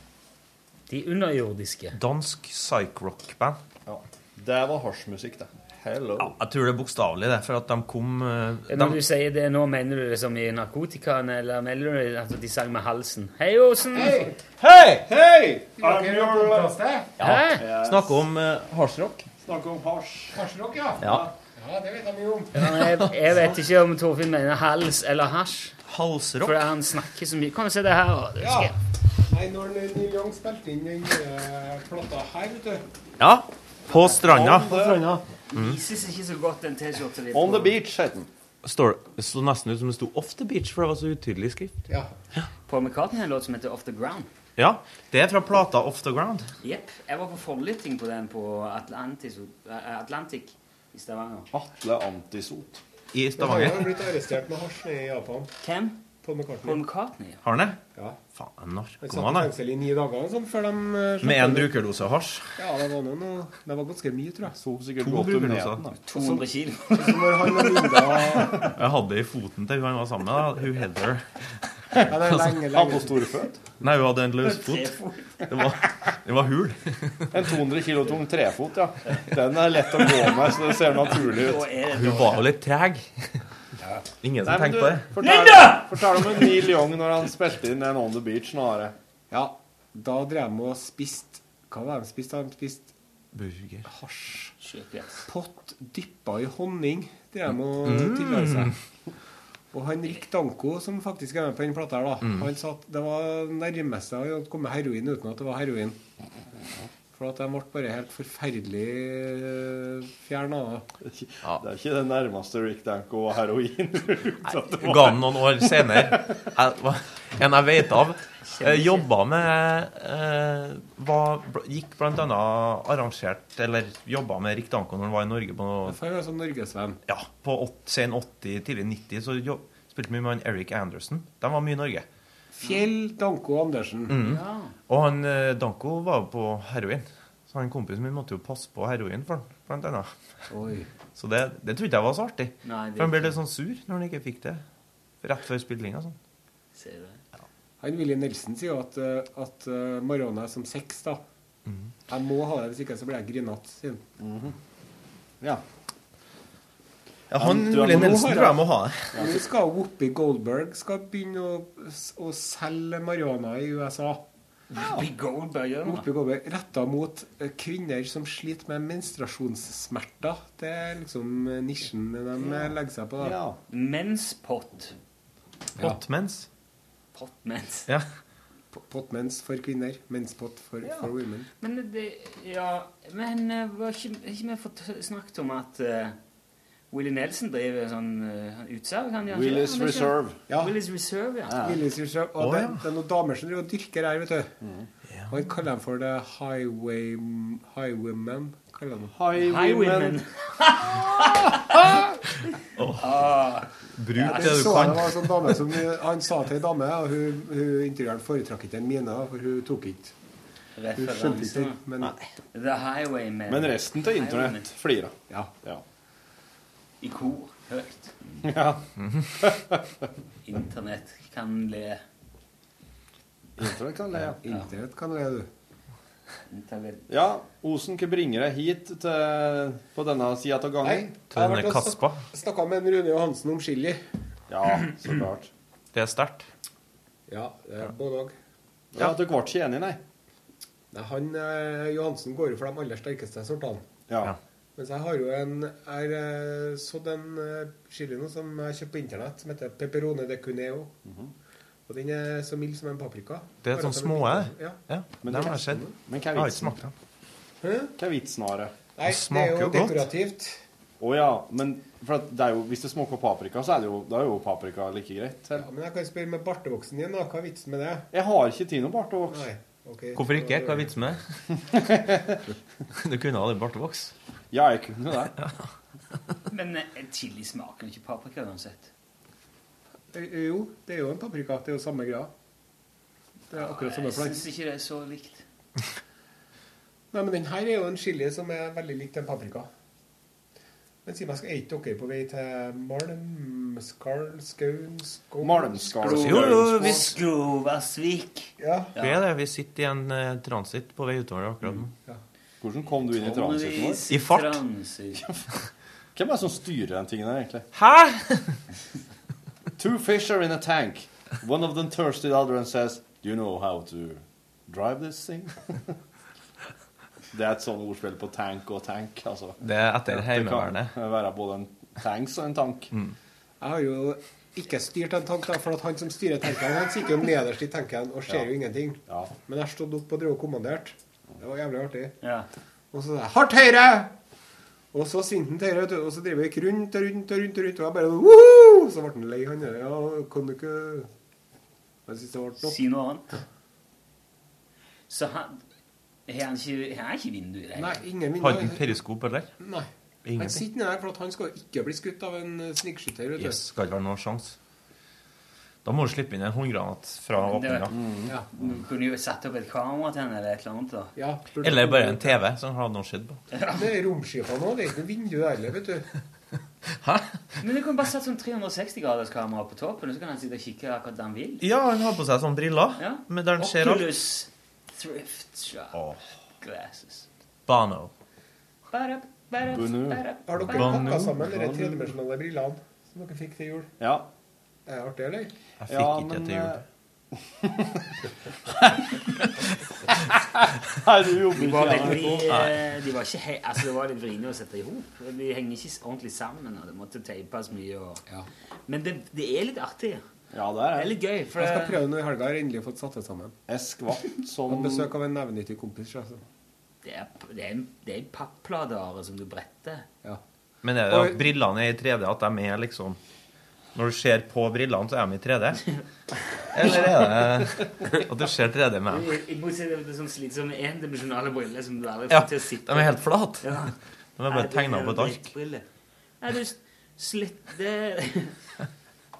S5: De underjordiske?
S13: Dansk psych-rock-band.
S7: Ja. Det var hasjmusikk, det. Hello.
S13: Ja, jeg tror det er bokstavelig, det. For at de kom eh,
S5: Når
S13: de,
S5: du sier det nå, mener du det som i narkotikaen, eller mener du at de sang med halsen? Hei, Osen!
S13: Hei! Hei!
S7: Hei!
S5: I'm your- Hæ?
S13: ja, Snakke om uh, hardsrock.
S7: Snakke om hasj.
S16: Hasjrock, ja.
S13: Ja.
S16: Ja, det vet jeg mye om.
S5: Ja, men jeg, jeg vet ikke om Torfinn mener hals eller hasj.
S13: Halsrock?
S5: For han snakker så mye. Kom og se det her. da. Det
S16: Ja.
S5: skal jeg-
S16: Nei, når Neil Young spilte inn den eh, plata her, vet du
S13: Ja. På stranda.
S16: På stranda.
S13: Mm.
S5: Vises ikke så godt den T-skjorta di.
S7: On the beach, het den.
S13: Står, det så nesten ut som det sto 'Off the beach', for det var så utydelig skrift.
S5: Ja. Paul McCartney har en låt som heter Off the Ground.
S13: Ja. Det er fra plata 'Off the Ground'.
S5: Jepp. Jeg var på forlytting på den på Atlantis, eh, Atlantic i Stavanger.
S7: Atle Antisot.
S13: I
S16: Han har
S13: Stavanger.
S16: jo blitt arrestert med hasj nede i Japan.
S5: Hvem?
S16: Paul McCartney.
S5: Paul McCartney,
S13: Har han det?
S16: Ja.
S13: Faen,
S16: Han satt i
S13: narkoman, da.
S16: fengsel i ni dager sånn, før de eh, slapp
S13: Med en
S16: han ut.
S13: brukerdose hasj.
S16: Ja, det var, noe, noe, det var ganske mye, tror jeg.
S7: Sov sikkert
S13: To godt om bruker du også. natten, da.
S5: 200 kilo.
S16: Så, så når han og Linda
S13: Jeg hadde i foten til hun han var sammen med, da. hun Heather.
S16: Ja, det er lenge, lenge. Han på
S7: storføt?
S13: Nei, hun hadde en løsfot.
S7: Trefot.
S13: Det var, det var hul.
S7: En 200 kilo tung trefot, ja. Den er lett å gå med, så det ser naturlig ut.
S13: Hun var jo litt treg. Ingen som
S7: Nei, men du,
S13: tenkte på det.
S7: Fortell, fortell om en Neil Young når han spilte inn en On the Beach snare.
S16: Ja, da drev de og spiste Hva var det de spiste? De spiste
S13: Burger.
S16: hasj. Pott dyppa i honning. Det de og
S13: Mm.
S16: tilhører seg. Og han Rick Danko, som faktisk er med på den plata her, da,
S13: Mm.
S16: han sa at det var nærmeste han hadde kommet heroin uten at det var heroin. For at de ble bare helt forferdelig fjerna.
S7: Det er ikke det nærmeste Rick Danko og heroin.
S13: Ga han noen år senere. Jeg, hva- en jeg vet av. eh, Jobba med eh, var, bl- Gikk blant annet arrangert Eller jobba med Rick Danko når han var i Norge på
S16: Han var sånn norgesvenn.
S13: Ja, på åt- sen 80, tidlig 90 så jo, spilte mye med han Eric Anderson. De var mye i Norge.
S16: Fjell Danko Andersen.
S13: Mm. Og han eh, Danko var jo på heroin. Så han kompisen min måtte jo passe på heroin for han, blant annet. Så det, det trodde jeg var så artig.
S16: Nei, det
S13: for han ble
S16: er
S13: litt sånn sur når han ikke fikk det rett før spillinga. Sånn.
S16: Han Willy Nelson sier jo at, eh, at eh, marihuana er som sex, da. Jeg må ha det, hvis ikke så blir jeg grinete. sier han.
S7: Ja.
S13: Ja, han Willy Nelson tror jeg må ha det.
S16: Nå skal Whoopi Goldberg skal begynne å, å selge marihuana i USA.
S5: Whoopi Goldberg gjør det.
S16: Whoopi Goldberg Retta mot eh, kvinner som sliter med menstruasjonssmerter. Det er liksom eh, nisjen de eh, legger seg på. da.
S5: Ja. Menspott.
S13: Pottmens.
S5: Pottmens.
S13: Ja.
S16: Pottmens for kvinner. Menspott for, for women.
S5: Men det Ja, men eh, var ikke, har ikke vi fått snakket om at eh, Willy Nelson driver sånn uh, utsalg? han gjør ikke det?
S7: Willy's
S5: Han er ikke-
S7: Reserve.
S16: Ja.
S5: Willy's Reserve, ja.
S16: Willis Reserve. Og
S5: Å,
S16: det,
S5: ja.
S16: det er noen damer som driver og dyrker her, vet du. Og han kaller dem for the highway, highwaymen. Kaller han dem.
S7: Highwaymen.
S16: Ah.
S13: Bruk
S16: Ja,
S13: det
S16: jeg
S13: du
S16: så
S13: kan.
S16: Det var en sånn dame som, han sa til ei dame, og hun, hun intervjueren foretrakk ikke en mine, da, for hun tok ikke. Hun skjønte ikke,
S5: Referanse.
S16: men
S5: The Highwaymen.
S7: Men resten til internett flirer.
S16: Ja.
S7: ja.
S5: I kor. Høyt.
S7: Ja.
S5: Internett kan le.
S7: Internett kan le, ja.
S16: Internett kan le, du.
S7: Ja, Osen, hva bringer deg hit til, på denne sida av gangen?
S13: Til denne Kaspa.
S16: Snakka med en Rune Johansen om chili.
S7: Ja, så klart.
S13: Det er sterkt.
S16: Ja, det er både òg.
S7: Ja, dere ble ikke enige, nei?
S16: Nei, han eh, Johansen går jo for de aller sterkeste sortene.
S7: Ja.
S16: Mens jeg har jo en Jeg har sådd en eh, chili nå som jeg kjøpte på internett, som heter pepperone de cuneo. Og den er så mild som en paprika.
S13: Det er
S16: Bare
S13: sånn
S16: at den
S13: små,
S16: er
S13: det.
S16: liten.
S13: Ja.
S7: Men
S13: det
S7: hva-
S13: har jeg sett.
S7: men hva er
S13: Jeg har ikke
S7: vitsen?
S13: smakt den.
S16: Hæ?
S7: Hva er vitsen av det?
S16: Nei,
S13: Det
S16: det
S13: smaker
S16: er jo
S13: jo godt.
S16: dekorativt.
S7: Å ja, men for at det er jo, hvis det smaker paprika, så er det jo, da er jo paprika like greit.
S16: Ja, men jeg kan spørre med bartevoksen din, da. Hva er vitsen med det?
S7: Jeg har ikke tid nå, Bart. Og...
S16: Nei, ok.
S13: Hvorfor ikke? Hva er vitsen med det? Du kunne ha det i bartevoks.
S7: Ja, jeg kunne det.
S5: Men eh, chili smaker jo ikke paprika uansett.
S16: Eh, Jo, det er jo en paprika. Det er jo samme greia. Det er akkurat samme
S5: Jeg
S16: plant.
S5: syns ikke det er så likt.
S16: Nei, men den her er jo en chili som er veldig lik den paprika. Men si meg, skal ikke dere på vei til Malmskarl, Skaun, Skål
S7: Malmskarl,
S13: Jo, jo, vi s-
S5: Skrovasvik.
S16: Ja.
S13: Vi er det. Vi sitter i en eh, transit på vei utover akkurat
S16: Mm.
S13: nå.
S7: Hvordan kom du inn i transiten vår?
S13: I fart.
S7: Hvem er det som styrer den tingen her, egentlig?
S13: Hæ?!
S7: Two fish are in a tank. One of them thirsty, the other one says, Do you know how to drive this thing? det er et sånt ordspill på tank og tank, altså.
S13: Det er etter Heimevernet.
S7: Det kan være både en tanks og en tank.
S16: Jeg har jo ikke styrt en tank, da, for at han som styrer tanken, han sitter jo nederst i tanken og ser
S7: Ja.
S16: jo ingenting. Men jeg har stått opp og drevet og kommandert. Det var jævlig artig.
S5: Ja.
S16: Og så sa jeg 'hardt høyre'! Og så svingte han til høyre, vet du, og så driver jeg rundt og rundt og rundt. og rundt, og jeg bare Woo! Så ble han lei, han der. Ja, kan du ikke Jeg synes det ble nok.
S5: Si noe annet. Så han Har han ikke, har han ikke vindu i det?
S16: Nei, ingen vindu.
S13: Hadde han periskop, eller?
S16: Nei. Han
S13: Ingenting.
S16: sitter nede der, for at han skal jo ikke bli skutt av en eh, snikskytter. vet du.
S13: Yes, skal ikke være noen sjanse. Da må du slippe inn en håndgranat fra
S5: Men det-
S13: åpninga.
S16: Mm.
S5: ja, Du kunne jo satt opp et kamera til henne eller et eller annet. da.
S13: Eller bare en TV som har noe skjedd på.
S16: Det er romskipa nå. Det er ikke noe vindu heller, vet du.
S5: Men du kunne bare satt sånn 360-graderskamera på toppen, og så kan han sitte og kikke akkurat der han vil.
S13: Ja, han har på seg sånne briller. Men der han ser alt.
S5: Oculus Thrift Shop Glasses.
S13: Bano.
S5: Bare, bare,
S13: Bunu.
S5: bare,
S16: Har dere
S13: Banu.
S16: pakka sammen de
S13: Banu.
S16: tredimensjonale brillene som dere fikk til jul?
S7: Ja.
S16: Det
S7: eh,
S16: er artig, eller?
S13: Jeg fikk ikke til
S5: eh,
S13: jul.
S7: Nei, du jobber
S5: De
S7: ikke
S5: var,
S7: i
S5: veldig,
S7: NRK.
S5: eh, de var ikke he altså, det var litt vriene å sette i hop. De henger ikke ordentlig sammen, og det måtte teipes mye. Og... Men det, det er litt artig.
S7: Ja, det er
S5: det. er litt gøy. For
S16: Jeg skal
S5: det-
S16: prøve nå i helga. Jeg har endelig fått satt det sammen.
S7: Jeg skvatt
S16: som Besøk av en nevnyttig kompis. Altså.
S5: Det er, det er, en- det er en pappladeare som du bretter.
S13: Men er det at brillene er i 3D, at de er liksom Når du ser på brillene, så er de i 3D? Eller er det at du ser 3D med dem?
S5: Jo, I motsetning til sånn slitsomme endimensjonale briller som du aldri
S13: Ja,
S5: får til å sitte
S13: de er helt flat.
S5: Ja.
S13: De er bare
S5: Nei, det
S13: tegnet
S5: jo
S13: på et ark.
S5: drittbriller. Nei, du s- sletter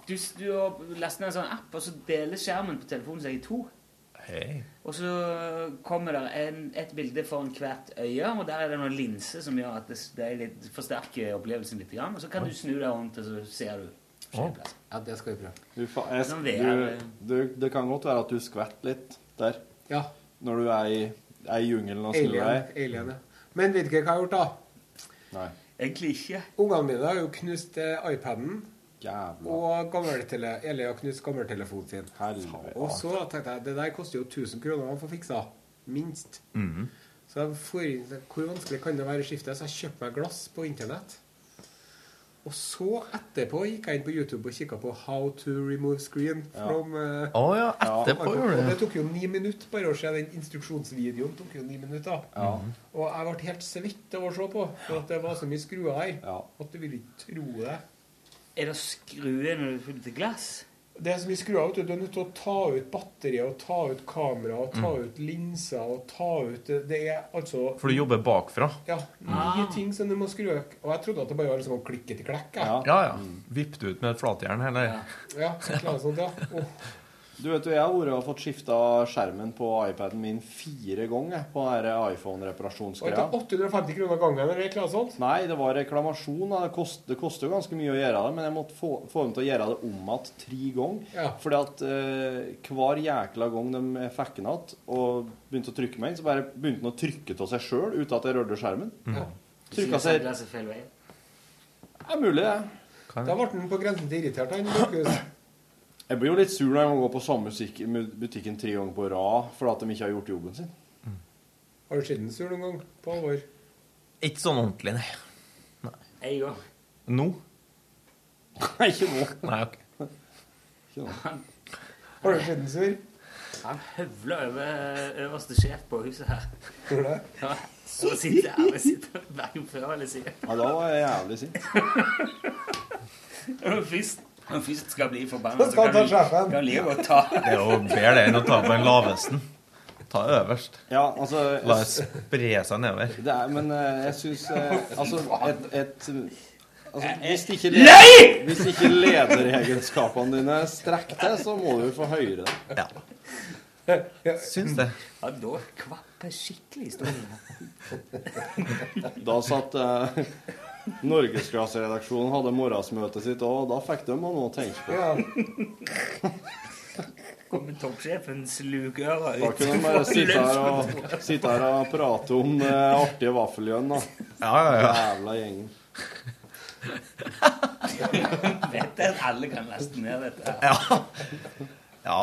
S5: Du, s- du har lastet ned en sånn app, og så deler skjermen på telefonen seg i to.
S13: Hei.
S5: Og så kommer det en, et bilde foran hvert øye, og der er det noen linser som gjør at det, s- det er litt, forsterker opplevelsen litt. Grann. Og så kan du snu deg rundt, og så ser du. Ja, det skal vi prøve.
S7: Du, fa jeg,
S5: Sånn
S7: du,
S5: VR.
S7: du, det kan godt være at du skvetter litt der.
S16: Ja.
S7: Når du er i, er i jungelen og snur
S16: Alien.
S7: deg.
S16: Alien ja. Men vet dere hva jeg har gjort, da?
S7: Nei.
S5: Egentlig ikke.
S16: Ungene mine har jo knust eh, iPaden.
S7: Jævla
S16: Og gammeltele, Eli har knust gammeltelefonen sin. Og så tenkte jeg det der koster jo 1000 kroner å få fiksa. Minst.
S13: Mhm.
S16: Så jeg får inn, Hvor vanskelig kan det være å skifte? Så jeg kjøpte meg glass på internett. Og så etterpå gikk jeg inn på YouTube og kikka på How to remove screen from eh,
S13: Å ja, etterpå
S16: iPhone.
S13: gjorde du det.
S16: Og det tok jo ni minutter bare å se den instruksjonsvideoen. tok jo ni minutter.
S7: Ja.
S16: Og jeg ble helt svett av å se på, for at det var så mye skruer her at du ville ikke tro det.
S5: Er det skruer når du fyller til glass?
S16: Det er så mye skruer, vet du. Du er nødt til å ta ut batteriet, og ta ut kamera, og ta
S13: Mm.
S16: ut linser, og ta ut Det er altså
S13: For du jobber bakfra. Mm.
S16: Ja. Mye ting som du må skru av. Og jeg trodde at det bare var liksom å klikke til klekk. jeg.
S13: Ja, ja. Vipp det ut med et flatjern, eller?
S16: Ja, et eller annet sånt, ja. Åh.
S7: Du vet jo, Jeg har vært og fått skifta skjermen på iPaden min fire ganger jeg, på denne
S16: Og det
S7: iPhone-reparasjonsgreia.
S16: tar 850 kroner gangen, eller et eller annet sånt.
S7: Nei, det var reklamasjon. da. Det kost- det koster jo ganske mye å gjøre det, men jeg måtte få, få dem til å gjøre det om igjen tre ganger.
S16: Ja.
S7: Fordi at eh, hver jækla gang de eh, fikk den igjen og begynte å trykke meg inn, så bare begynte den å trykke av seg sjøl uten at jeg rørte skjermen.
S5: Ja.
S7: Trykka seg
S5: Glasset feil vei.
S7: Det er mulig, det.
S16: Da ble han på grensen til irritert, han Markus.
S7: Jeg blir jo litt sur når jeg må gå på samme musikk- butikken tre ganger på rad fordi at de ikke har gjort jobben sin.
S16: Har du sett den sur noen gang? På alvor?
S13: Ikke sånn ordentlig, nei.
S5: En gang.
S13: Nå?
S7: Nei, ikke nå.
S13: Nei, ok.
S16: Har du sett den sur?
S5: Han høvler over øverste sjef på huset her.
S16: Gjorde det?
S5: Ja, så sitter jeg og sitter hver gang før eller siden.
S7: Ja, da var jeg jævlig sint.
S5: Når du først- når du først skal bli forbanna,
S7: Så skal han ta sjefen.
S5: kan du like godt ta
S13: Det er jo bedre det enn å ta på den lavesten. Ta øverst.
S7: Ja, altså
S13: La det spre seg nedover.
S7: Det er, men eh, jeg syns Altså, et, et altså, hvis, ikke
S13: Nei!
S7: hvis ikke lederegenskapene dine strekker til, så må du få høyere det.
S16: Ja.
S13: Syns det.
S5: Ja, da kvapper skikkelig historien.
S7: Da satt uh, Norgesklasseredaksjonen hadde morgensmøtet sitt, og da fikk de noe å tenke på.
S5: Kommer toppsjefen slukøra
S7: Da
S5: ut
S7: kunne de bare
S5: fra
S7: sitte her og,
S5: lunsjbordet.
S7: sitte her og prate om eh, artige vaffeljønn, da.
S13: ja, ja.
S7: Jævla gjengen.
S5: Vet jeg at alle kan laste ned dette.
S13: Ja. Ja.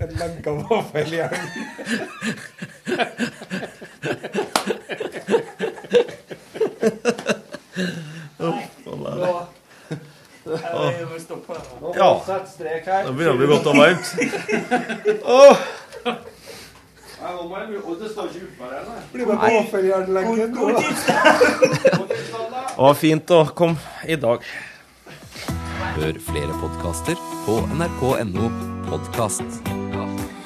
S16: En lenka vaffeljern.
S5: Nå- Ja, vi må stoppe.
S13: Ja. Nå begynner det å bli godt og varmt. Åh.
S7: Nei, nå må jeg, og det står ikke utpå her, nei.
S16: Blir med på vaffeljernlenken. nå, da.
S13: Det var fint å komme i dag.
S12: Hør flere podkaster på nrk.no podkast.